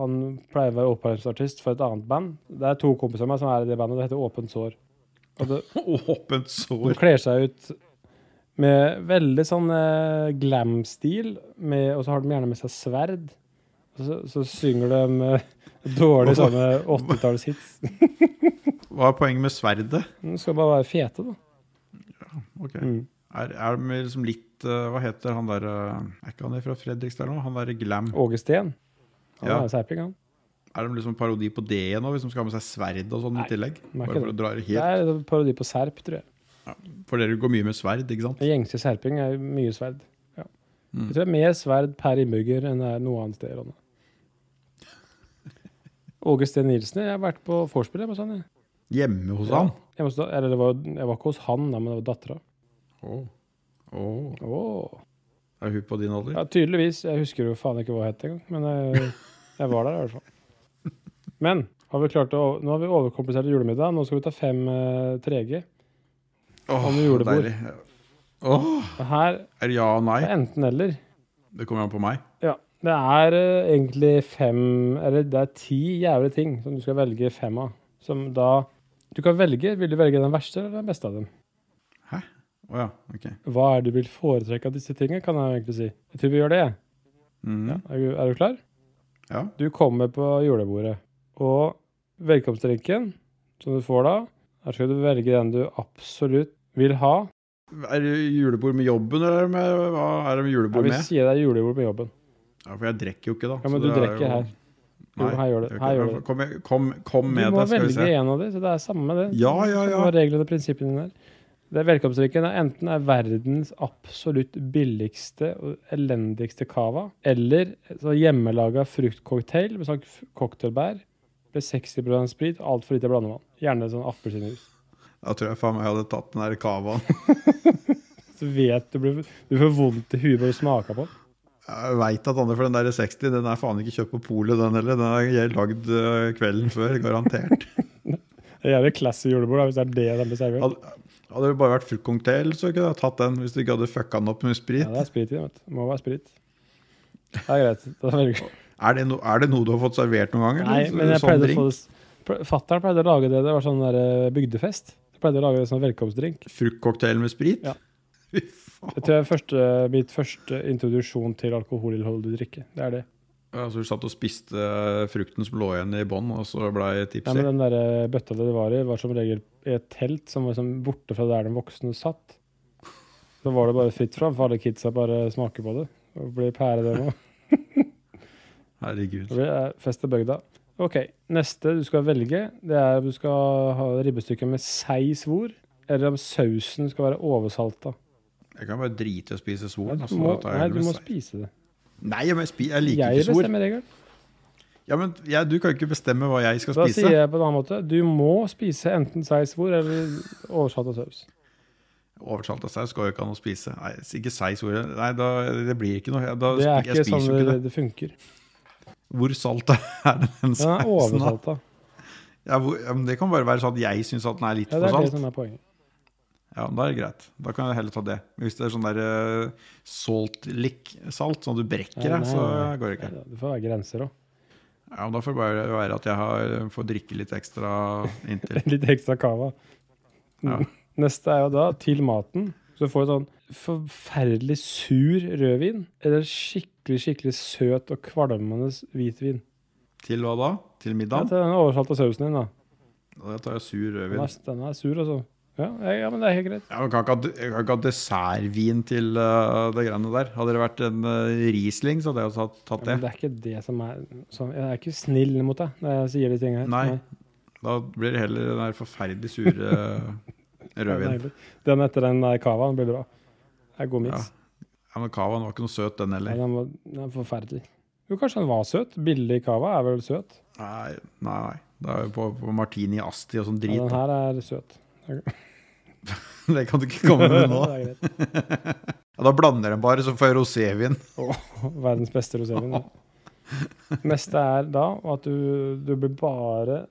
S1: Han pleier å være oppvarmingsartist for et annet band. Det er to kompiser av meg som er i det bandet. Det heter Åpent sår. Og det,
S2: Åpent
S1: de
S2: sår.
S1: kler seg ut med veldig sånn eh, glam-stil, med- og så har de gjerne med seg sverd. Og så, så synger de eh, dårlige
S2: Hvorfor-
S1: sånne 80-tallshits.
S2: Hva er poenget med sverdet?
S1: Du skal bare være fete, da.
S2: Ok.
S1: Mm.
S2: Er, er de liksom litt eh, Hva heter han der eh, Er ikke han fra Fredrikstad eller noe? Han der Glam.
S1: Åge Steen. Han
S2: Ja.
S1: er serping, han.
S2: Er de liksom en parodi på det nå, hvis de skal ha med seg sverd og sånn i
S1: Nei,
S2: tillegg?
S1: er ikke
S2: Bare for å dra det
S1: Det
S2: helt
S1: er en parodi på serp, tror jeg.
S2: For dere går mye med sverd, ikke sant?
S1: Men Gjengse serping er jo mye sverd. Ja.
S2: Mm.
S1: Jeg tror det er mer sverd per innbygger enn det er noe annet sted i landet. Åge Steen Nilsen. Jeg har vært på vorspiel hjemme hos han. Jeg.
S2: Hjemme hos han?
S1: Jeg, måtte, eller det var, jeg var ikke hos han, da, men det var dattera.
S2: Åh Åh.
S1: Oh.
S2: Er hun på din alder?
S1: Ja, tydeligvis. Jeg husker jo faen ikke hva jeg het engang, men jeg, jeg var der i hvert fall. Men har vi klart å, nå har vi overkomplisert julemiddag. Nå skal vi ta fem eh, 3G.
S2: Åh,
S1: han med julebord.
S2: deilig. Åh,
S1: Og her
S2: er det ja og nei?
S1: er enten-eller.
S2: Det kommer an på meg.
S1: Ja. Det er eh, egentlig fem Eller det er ti jævlige ting som du skal velge fem av. Som da Du kan velge. Vil du velge den verste eller den beste av dem?
S2: Å ja, ok.
S1: Hva er det du vil foretrekke av disse tingene, kan jeg egentlig si. Jeg tror vi gjør det. jeg.
S2: Mm. Ja.
S1: Er du, er du klar? Du kommer på julebordet, og velkomstdrinken som du får da, her skal du velge den du absolutt vil ha.
S2: Er det julebord med jobben, eller er det med, hva er det med
S1: Jeg
S2: julebord
S1: vil
S2: med?
S1: si deg julebord på jobben.
S2: Ja, for jeg drikker jo ikke, da.
S1: Ja, men
S2: så
S1: du
S2: det er
S1: drikker her. Jo, her gjør det.
S2: jeg gjør
S1: Her
S2: ikke
S1: gjør det.
S2: Kom, kom, kom
S1: Du
S2: med
S1: må
S2: det, skal vi
S1: velge
S2: se.
S1: en av dem, så det er samme det.
S2: Ja, ja,
S1: Samme
S2: ja.
S1: reglene og prinsippene dine der. Det er velkomstdrikken er enten er verdens absolutt billigste og elendigste cava, eller så hjemmelaga fruktcocktail med sånn f- cocktailbær med 60 sprit, altfor lite blandevann. Gjerne sånn appelsinjuice.
S2: Da tror jeg faen meg jeg hadde tatt den der cavaen.
S1: Så vet du blir, Du får vondt i huet bare du smaker på den.
S2: Jeg veit at andre for den der 60, den er faen ikke kjøpt på polet, den heller. Den er lagd øh, kvelden før, garantert.
S1: Det er jævlig classy julebord, da, hvis det er det de blir servert.
S2: Hadde, hadde det bare vært fruktcocktail, så kunne jeg tatt den. Hvis du ikke hadde fucka den opp med
S1: Ja,
S2: sprit.
S1: det er sprit i det, vet du. Må være sprit. Det er greit. Da velger
S2: Er, det no, er det noe du har fått servert noen gang?
S1: Nei,
S2: eller?
S1: men jeg
S2: Sånn
S1: pleide
S2: drink?
S1: å få Fatter'n pleide å lage det. Det var sånn der eh, bygdefest. Jeg pleide å lage en sånn velkomstdrink.
S2: Fruktcocktail med sprit?
S1: Ja.
S2: Fy faen.
S1: Jeg tror det er første, mitt første introduksjon til alkoholholdig drikke. Det er det.
S2: Altså, du satt og spiste eh, frukten som lå igjen i bånn, og så blei
S1: Nei,
S2: tipsy?
S1: men den der eh, bøtta det var i, var som regel i et telt som var liksom borte fra der de voksne satt. Så var det bare fritt fram, for alle kidsa bare smaker på det. Og blir pære, det nå.
S2: Herregud.
S1: Det blir eh, fest i bygda. OK. Neste du skal velge, det er om du skal ha ribbestykker med seig svor, eller om sausen skal være oversalta.
S2: Jeg kan bare drite i å spise
S1: Nei,
S2: svoren.
S1: du
S2: Altså,
S1: må,
S2: da tar jeg
S1: nei,
S2: heller
S1: du
S2: med
S1: må
S2: sei.
S1: spise det.
S2: Nei, men jeg, spi, jeg liker
S1: Jeg
S2: ikke svor.
S1: bestemmer regelen.
S2: Ja, men jeg, Du kan jo ikke bestemme hva jeg skal
S1: Da
S2: spise.
S1: sier jeg på en annen måte du må spise enten seisvor eller oversatt av saus.
S2: Oversalt av saus går jo ikke an å spise. Nei, ikke seig svor. Nei, da, det blir ikke noe. Da,
S1: Det er
S2: jeg
S1: ikke
S2: spiser
S1: sånn
S2: jo ikke
S1: det,
S2: det.
S1: det funker.
S2: Hvor salt er den
S1: Den er
S2: sausen? da?
S1: oversalta.
S2: Ja, hvor, ja, men det kan bare være sånn at jeg syns at den er litt
S1: Ja, det
S2: for
S1: er det
S2: salt.
S1: som er poenget.
S2: Ja, Da er det greit. Da kan jeg heller ta det. Men hvis det er sånn der eh, salt lick-salt, sånn at du brekker
S1: Nei,
S2: deg,
S1: nei,
S2: så
S1: nei.
S2: går det ikke.
S1: Ja, Det får være grenser òg.
S2: Ja, men Da får det bare være at jeg har, eh, får drikke litt ekstra inntil.
S1: Litt ekstra cava.
S2: Ja.
S1: Neste er jo da til maten. Så får du sånn forferdelig sur rødvin eller skikkelig, skikkelig søt og kvalmende hvitvin.
S2: Til hva da? Til
S1: Ja,
S2: middagen?
S1: til den oversalta sausen din, da.
S2: Da tar jeg sur
S1: Den
S2: rødvin.
S1: er, den er sur, altså. Ja, ja, men det er helt greit.
S2: Ja, men kan ikke ha, jeg kan ikke ha dessertvin til eh, det greiene der. Hadde det vært en eh, Riesling, så hadde jeg også tatt,
S1: Ja,
S2: tatt det.
S1: men det er ikke det som er sånn, Jeg er ikke snill mot deg når jeg sier de tingene her.
S2: Nei, Da blir det heller den der forferdelig sure eh,
S1: det er
S2: rødvin.
S1: deilig. Den etter den der cavaen blir bra. Det er god miks.
S2: Ja, men Cavaen var ikke noe søt, den
S1: Nei,
S2: heller.
S1: den, var- den er forferdelig. Jo, kanskje den var søt. Billig cava er vel søt?
S2: Nei, nei. nei. Det er jo på, på Martini Asti og sånn
S1: Ja,
S2: drit.
S1: den
S2: da.
S1: her er søt.
S2: det kan du ikke komme med nå.
S1: Det er greit.
S2: Ja, Og da blander de bare, så får jeg rosévin.
S1: Verdens beste rosévin. det. Neste er da at du, du blir bare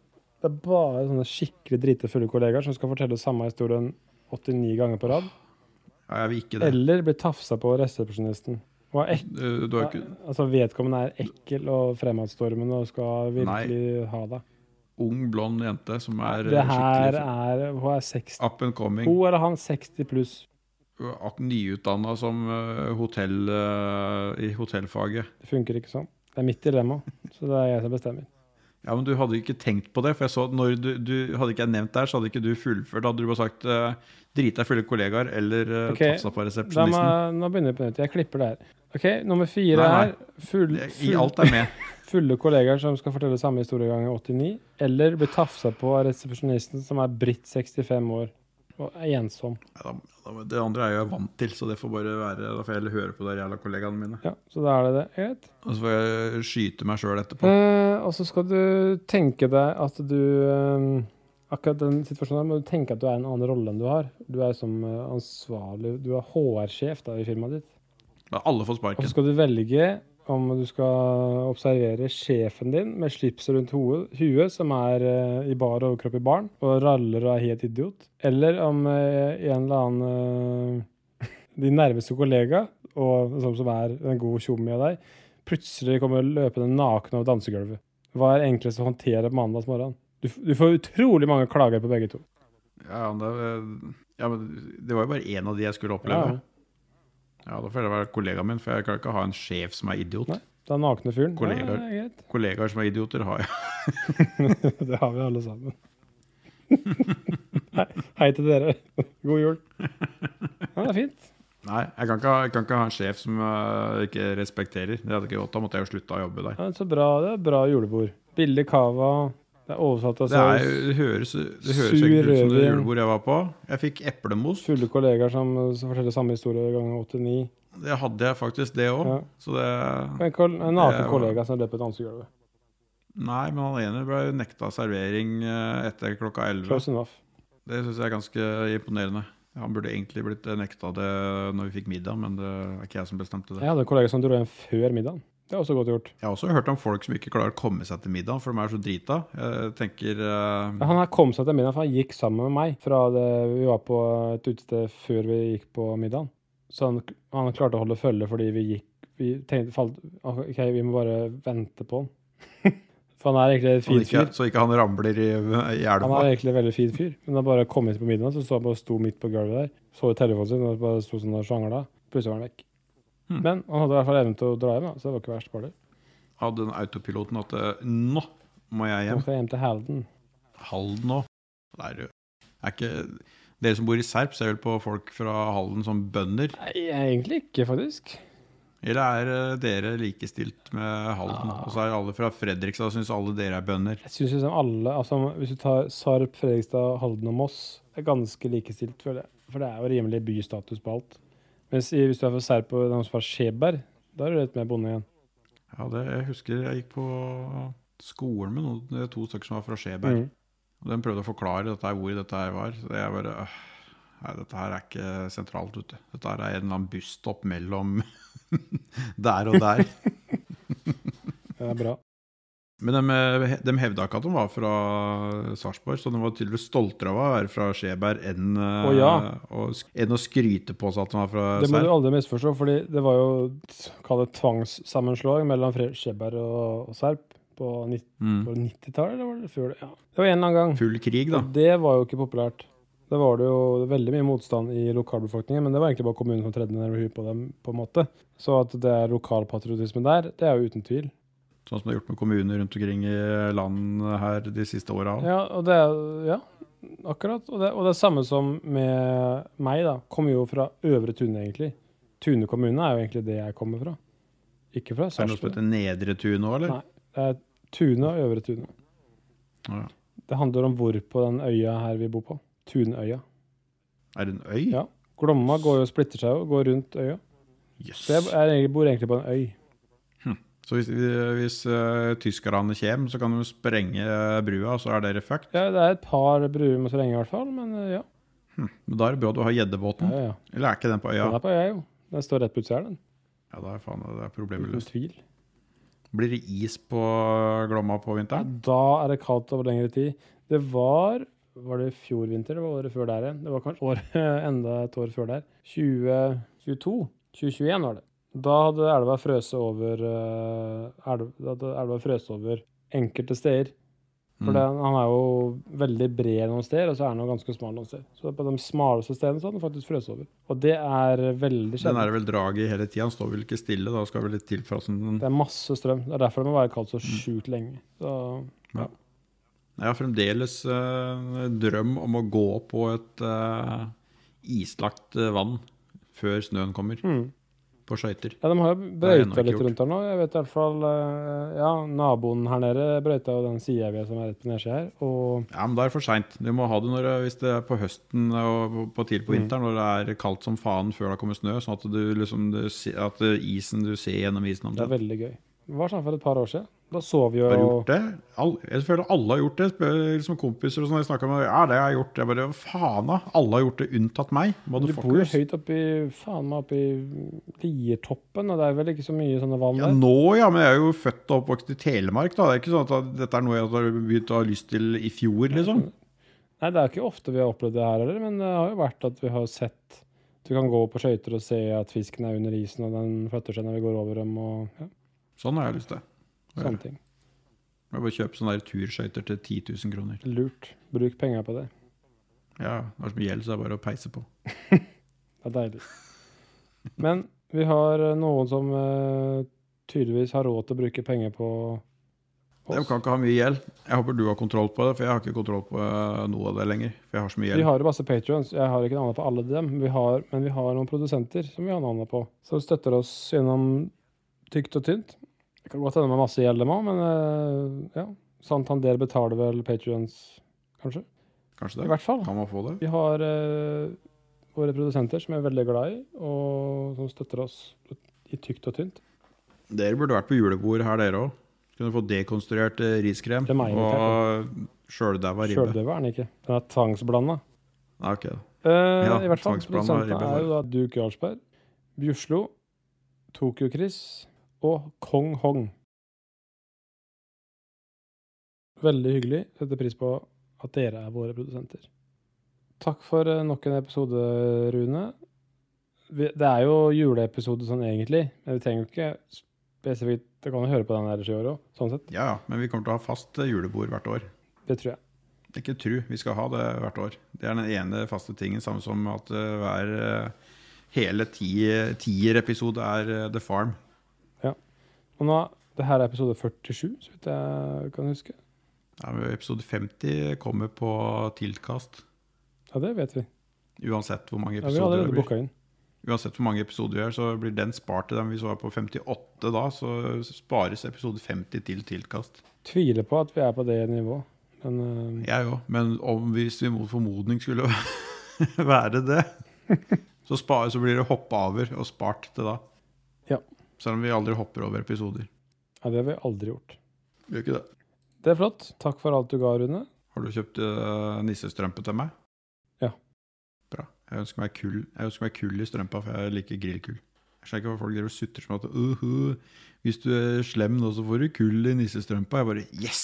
S1: Det er bare sånne skikkelig drite fulle kollegaer som skal fortelle samme historien 89 ganger på rad.
S2: Ja, jeg vil ikke det.
S1: Eller bli tafsa på av resepsjonisten. Og er ek,
S2: Du, du har ikke
S1: altså vedkommende er ekkel og fremadstormende og skal virkelig ha deg.
S2: ung, blond jente som er
S1: Det
S2: eh,
S1: her
S2: skikkelig
S1: er Hun er 60
S2: up and coming.
S1: Hun eller han 60 pluss.
S2: Ak- Nyutdanna som eh, hotell eh, i hotellfaget.
S1: Det funker ikke sånn. Det er mitt dilemma, så det er jeg som bestemmer.
S2: Ja, men du hadde ikke tenkt på det, for jeg så at når du, du hadde ikke jeg nevnt det her, så hadde ikke du fullført. Da hadde du bare sagt eh, drit deg fulle kollegaer eller uh,
S1: Ok,
S2: tafsa
S1: Da
S2: på
S1: må,
S2: resepsjonisten.
S1: jeg- nå begynner vi på nytt. Jeg klipper det her. OK, nummer fire
S2: Nei, nei.
S1: er full,
S2: Jeg- I
S1: full,
S2: alt er med.
S1: fulle kollegaer som skal fortelle samme historie gang i 89, eller bli tafsa på av resepsjonisten som er britt 65 år og er ensom.
S2: Ja, da- Det andre er jo jeg vant til, så det får bare være Da får jeg heller høre på de jævla kollegaene mine.
S1: Ja, så da er det det. Greit.
S2: Og så får jeg skyte meg sjøl etterpå.
S1: Eh, og så skal du tenke deg at du eh, Akkurat den situasjonen her må du tenke at du er i en annen rolle enn du har. Du er som eh, ansvarlig Du er HR-sjef da i firmaet ditt.
S2: Da har alle
S1: Og
S2: får
S1: så
S2: sparken.
S1: skal du velge om du skal observere sjefen din med slips rundt hodet, huet, som er eh, i bar overkropp i baren, og raller og er helt idiot. Eller om eh, en eller annen eh, din nærmeste kollega, og, som, som er en god tjomme av deg, plutselig kommer løpende naken over dansegulvet. Hva er enklest å håndtere på mandagsmorgen? Du, f- du får utrolig mange klager på begge to.
S2: Ja, men det, ja, men det var jo bare én av de jeg skulle oppleve. Ja, Da får jeg være kollegaen min, for jeg kan ikke ha en sjef som er idiot.
S1: Nei. Den nakne fyren. Ja,
S2: Kollegaer.
S1: det er greit.
S2: Kollegaer som er idioter, har jeg.
S1: Det har vi alle sammen. Hei, hei til dere. God jul. Ja, det er fint.
S2: Nei, jeg kan ikke ha, jeg kan ikke ha en sjef som jeg ikke respekterer. Det hadde ikke gått, Da måtte jeg jo slutta å jobbe der.
S1: Ja, så bra, det er bra julebord. Billig cava. Det er oversatt av
S2: Det, er, jo-
S1: saus.
S2: det høres, det høres
S1: Altså, Sur
S2: jo ikke ut som det
S1: rødvin.
S2: julebord jeg var på. Jeg fikk eplemos.
S1: Fulle kollegaer som, som forteller samme historie ganger 89.
S2: Det hadde jeg faktisk, det òg.
S1: Ja.
S2: Så det
S1: En, kol en naken
S2: Det var-
S1: kollega som løper på dansegulvet.
S2: Nei, men han ene ble nekta servering eh, etter klokka 11.
S1: Close enough.
S2: Det syns jeg er ganske imponerende. Han burde egentlig blitt nekta det når vi fikk middag, men det er ikke jeg som bestemte det.
S1: Jeg hadde en kollega som dro hjem før middagen. Det er også godt gjort.
S2: Jeg har også hørt om folk som ikke klarer å komme seg til middag, for de er så drita. Jeg tenker eh,
S1: Han her kom seg til middagen, for han gikk sammen med meg fra det vi var på et utested før vi gikk på middagen. Så han, han klarte å holde følge fordi vi gikk Vi tenkte falt, OK, vi må bare vente på han. for han er egentlig en
S2: han
S1: fin
S2: ikke,
S1: fyr.
S2: så ikke han ramler i,
S1: Han
S2: i elva.
S1: er egentlig en veldig fin fyr. Men han bare kom hit på middagen, så sto han bare og sto midt på gulvet der. Så i telefonen sin og bare sto sånn og sjangla. Plutselig var han vekk.
S2: Hmm.
S1: Men han hadde i hvert fall evnen til å dra hjem, da, så det var ikke verst. Bare.
S2: Hadde den autopiloten at eh, nå må jeg
S1: Han
S2: hjem.
S1: skal hjem til Halden.
S2: Halden nå. Det er jo er ikke Dere som bor i Serp, ser vel på folk fra Halden som bønder?
S1: Nei, egentlig ikke, faktisk.
S2: Eller er eh, dere likestilt med Halden?
S1: Ah.
S2: Og så er alle fra Fredrikstad og syns alle dere er bønder.
S1: Jeg synes liksom alle, altså Hvis du tar Sarp, Fredrikstad, Halden og Moss, er ganske likestilt, føler jeg. For det er jo rimelig bystatus på alt. Mens i, hvis du er fra Serp og noen som er fra Skjeberg, da er du litt mer bonde igjen.
S2: Ja, det, jeg husker jeg gikk på skolen med noen, to stykker som var fra
S1: Mm.
S2: Skjeberg. Og de prøvde å forklare dette her, hvor dette her var. Så jeg bare øh, Nei, dette her er ikke sentralt, vet du. Dette her er en eller annen busstopp mellom der og der.
S1: Det er bra.
S2: Men de, eh, de hevda ikke at de var fra Sarpsborg, så de var tydeligvis stoltere av å være fra Skjeberg enn, eh,
S1: Å, ja.
S2: å sk- enn å skryte på seg at de var fra
S1: Det må du
S2: Serp.
S1: aldri misforstå, fordi det var jo t- kall det tvangssammenslåing mellom Fre- Skjeberg og, og Serp på nitt-
S2: Mm.
S1: var det 90-tallet, eller var det før det? Ja. Det var en eller annen gang.
S2: Full krig, da.
S1: Og det var jo ikke populært. Det var det jo veldig mye motstand i lokalbefolkningen, men det var egentlig bare kommunen som tredde ned huet på dem. på en måte. Så at det er lokalpatriotisme der, det er jo uten tvil.
S2: Sånn som det er gjort med kommuner rundt omkring i landet her de siste åra.
S1: Ja, og det er, ja akkurat. Og det, og det er samme som med meg, da. Kommer jo fra Øvre Tune, egentlig. Tune kommune er jo egentlig det jeg kommer fra. Ikke fra
S2: Er det noe som
S1: Sarpsborg.
S2: heter Nedre Tun nå, eller?
S1: Nei. Det er Tune og Øvre Tune.
S2: Å, ja.
S1: Det handler om hvor på den øya her vi bor på. Tunøya.
S2: Er det en øy?
S1: Ja. Glomma går jo og splitter seg jo, går rundt øya.
S2: Jøss.
S1: Så jeg er, egentlig- bor egentlig på en øy.
S2: Så hvis, hvis eh, tyskerne kommer, så kan de sprenge eh, brua, og så er dere fucked?
S1: Ja, det er et par bruer med så lenge i hvert fall, men eh, ja.
S2: Men da er det bra du har gjeddebåten.
S1: ja, ja, ja.
S2: Eller er ikke den på øya?
S1: Den er på øya, jo. Den står rett på utsida her, den.
S2: Ja, da er faen, det er problemet
S1: Uten
S2: løst.
S1: tvil.
S2: Blir det is på eh, Glomma på vinteren?
S1: Da er det kaldt over lengre tid. Det var Var det i fjor vinter? Det var året før der igjen. Det var kanskje året, enda et år før der. 2022? 2021 var det. Da hadde elva frøset over eh, elv, Da hadde elva frøst over enkelte steder. For
S2: Mm.
S1: den, han er jo veldig bred noen steder, og så er han jo ganske smal noen steder. Så på de smaleste stedene så hadde den faktisk frøst over. Og det er veldig
S2: Den
S1: sjelden.
S2: er det vel drag i hele tida. Den står vel ikke stille. Da skal vel litt til for at den
S1: Det er masse strøm. Det er derfor det må være kaldt så
S2: Mm.
S1: sjukt lenge. Så
S2: Jeg har fremdeles eh, drøm om å gå på et eh, islagt eh, vann før snøen kommer.
S1: Mm.
S2: På skøyter.
S1: Ja, de har jo
S2: har jeg
S1: brøyta
S2: ennå ikke
S1: litt
S2: gjort.
S1: rundt her nå. Jeg vet i hvert fall eh, Ja, naboen her nede brøyta jo den sida vi er som er rett på nedsida her. Og
S2: Ja, men da er det for seint. Du må ha det når, det- hvis det er på høsten og på- på tidlig på
S1: Mm.
S2: vinteren når det er kaldt som faen før det kommer snø, sånn at, du, liksom, du, se- at eh, isen du ser gjennom isen
S1: det er
S2: omtrent.
S1: veldig gøy. Det var sånn for et par år siden. Da så vi jo
S2: Har du gjort det? All, jeg føler alle har gjort det. Spør liksom kompiser og sånn. Jeg snakker med Ja, det har jeg gjort. Jeg bare Faen, da. Alle har gjort det, unntatt meg.
S1: Du bor jo
S2: Motherfuckers.
S1: høyt oppi faen meg oppi Liertoppen, og det er vel ikke så mye sånne vann
S2: Ja,
S1: der.
S2: nå, ja. Men jeg er jo født og oppvokst i Telemark, da. Det er ikke sånn at dette er noe jeg har begynt å ha lyst til i fjor, liksom.
S1: Nei, det er ikke ofte vi har opplevd det her heller, men det har jo vært at vi har sett Du kan gå på skøyter og se at fisken er under isen, og den flytter seg når vi går over dem, og ja,
S2: Sånn har jeg lyst til.
S1: sånne ting.
S2: Jeg bare kjøpe sånne der turskøyter til 10 000 kroner.
S1: Lurt. Bruk penger på det.
S2: Ja, det er så mye gjeld, så det er bare å peise på.
S1: Det er deilig. Men vi har eh, noen som eh, tydeligvis har råd til å bruke penger på
S2: De
S1: oss.
S2: kan ikke ha mye gjeld. Jeg håper du har kontroll på det, for jeg har ikke kontroll på eh, noe av det lenger. For jeg har så mye
S1: Vi
S2: gjeld.
S1: har jo masse patrions. Jeg har ikke navnet på alle dem, vi har, men vi har noen produsenter som vi har navnet på, som støtter oss gjennom tykt og tynt. Det kan godt hende med masse gjeld dem òg, men eh, ja. Santander betaler vel patrions, kanskje?
S2: Kanskje
S1: I
S2: det?
S1: hvert fall.
S2: Kan man få det?
S1: Vi har eh, våre produsenter som jeg er veldig glad i, og som støtter oss i tykt og tynt.
S2: Dere burde vært på julebord her, dere òg. Kunne fått dekonstruert eh, riskrem
S1: Det er meg
S2: og sjøldæva ribbe.
S1: Sjøldøve er den ikke. Den er tvangsblanda.
S2: Nei, ok da.
S1: Eh,
S2: Ja,
S1: I hvert fall,
S2: tvangsblanda
S1: produsentene
S2: ribbe
S1: er jo da Duke Jarlsberg, Bjuslo, Tokyo-Chris og Kong Hong. Veldig hyggelig. Setter pris på at dere er våre produsenter. Takk for eh, nok en episode, Rune. Vi, det er jo juleepisode sånn egentlig, men vi trenger jo ikke spesifikt Du kan jo høre på den ellers i år òg, sånn sett.
S2: Ja, ja. Men vi kommer til å ha fast eh, julebord hvert år.
S1: Det tror jeg.
S2: Ikke tru, vi skal ha det hvert år. Det er den ene faste tingen. Samme som at eh, hver eh, hele ti, tierepisode er eh, The Farm.
S1: Og nå, det her er episode 47, så vidt jeg kan huske.
S2: Ja, men episode 50 kommer på Tiltkast.
S1: Ja, det vet vi.
S2: Uansett hvor mange
S1: Ja, vi har
S2: episoder det
S1: allerede
S2: blir.
S1: booka inn.
S2: Uansett hvor mange episoder vi gjør, så blir den spart til dem. Hvis vi var på 58 da, så spares episode 50 til Tiltkast.
S1: Tviler på at vi er på det nivået, men eh,
S2: Jeg òg, men om hvis vi mot formodning skulle være det, så, spar, så blir det hoppa over og spart til da.
S1: Ja.
S2: Selv om vi aldri hopper over episoder.
S1: ja, det har vi aldri gjort.
S2: Gjør ikke det.
S1: Det er flott. Takk for alt du ga, Rune.
S2: Har du kjøpt eh, nissestrømpe til meg?
S1: Ja.
S2: Bra. Jeg ønsker meg kull, jeg ønsker meg kull i strømpa, for jeg liker grillkull. Jeg skjønner ikke hvorfor folk driver og sutrer som at «Uhu, hvis du er slem nå, så får du kull i nissestrømpa. Jeg bare yes!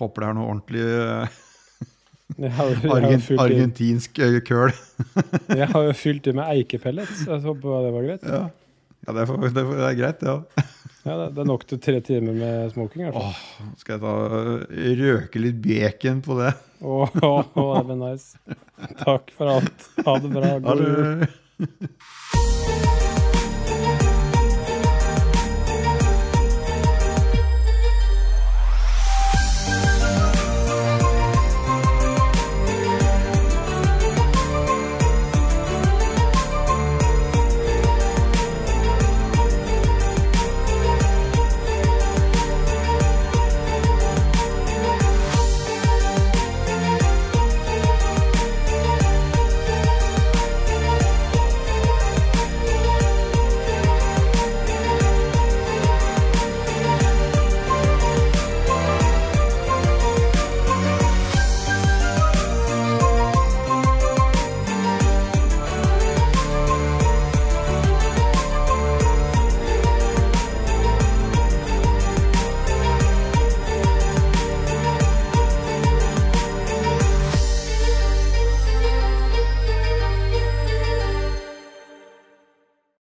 S2: Håper det er noe ordentlig eh,
S1: Jeg har, jo- jeg har, jo
S2: argen,
S1: fylt i,
S2: argentinsk eh, køl.
S1: jeg har jo fylt i med eikepellets. Jeg håper det var greit.
S2: Ja, ja det, er, for- det, er, for- det er greit, det òg.
S1: Ja, det, det er nok til tre timer med smoking, i hvert fall.
S2: Åh, skal jeg ta, røke litt bacon på det?
S1: Åh, åh, åh, det blir nice. Takk for alt. Ha det bra.
S2: Har
S1: God jul.
S2: du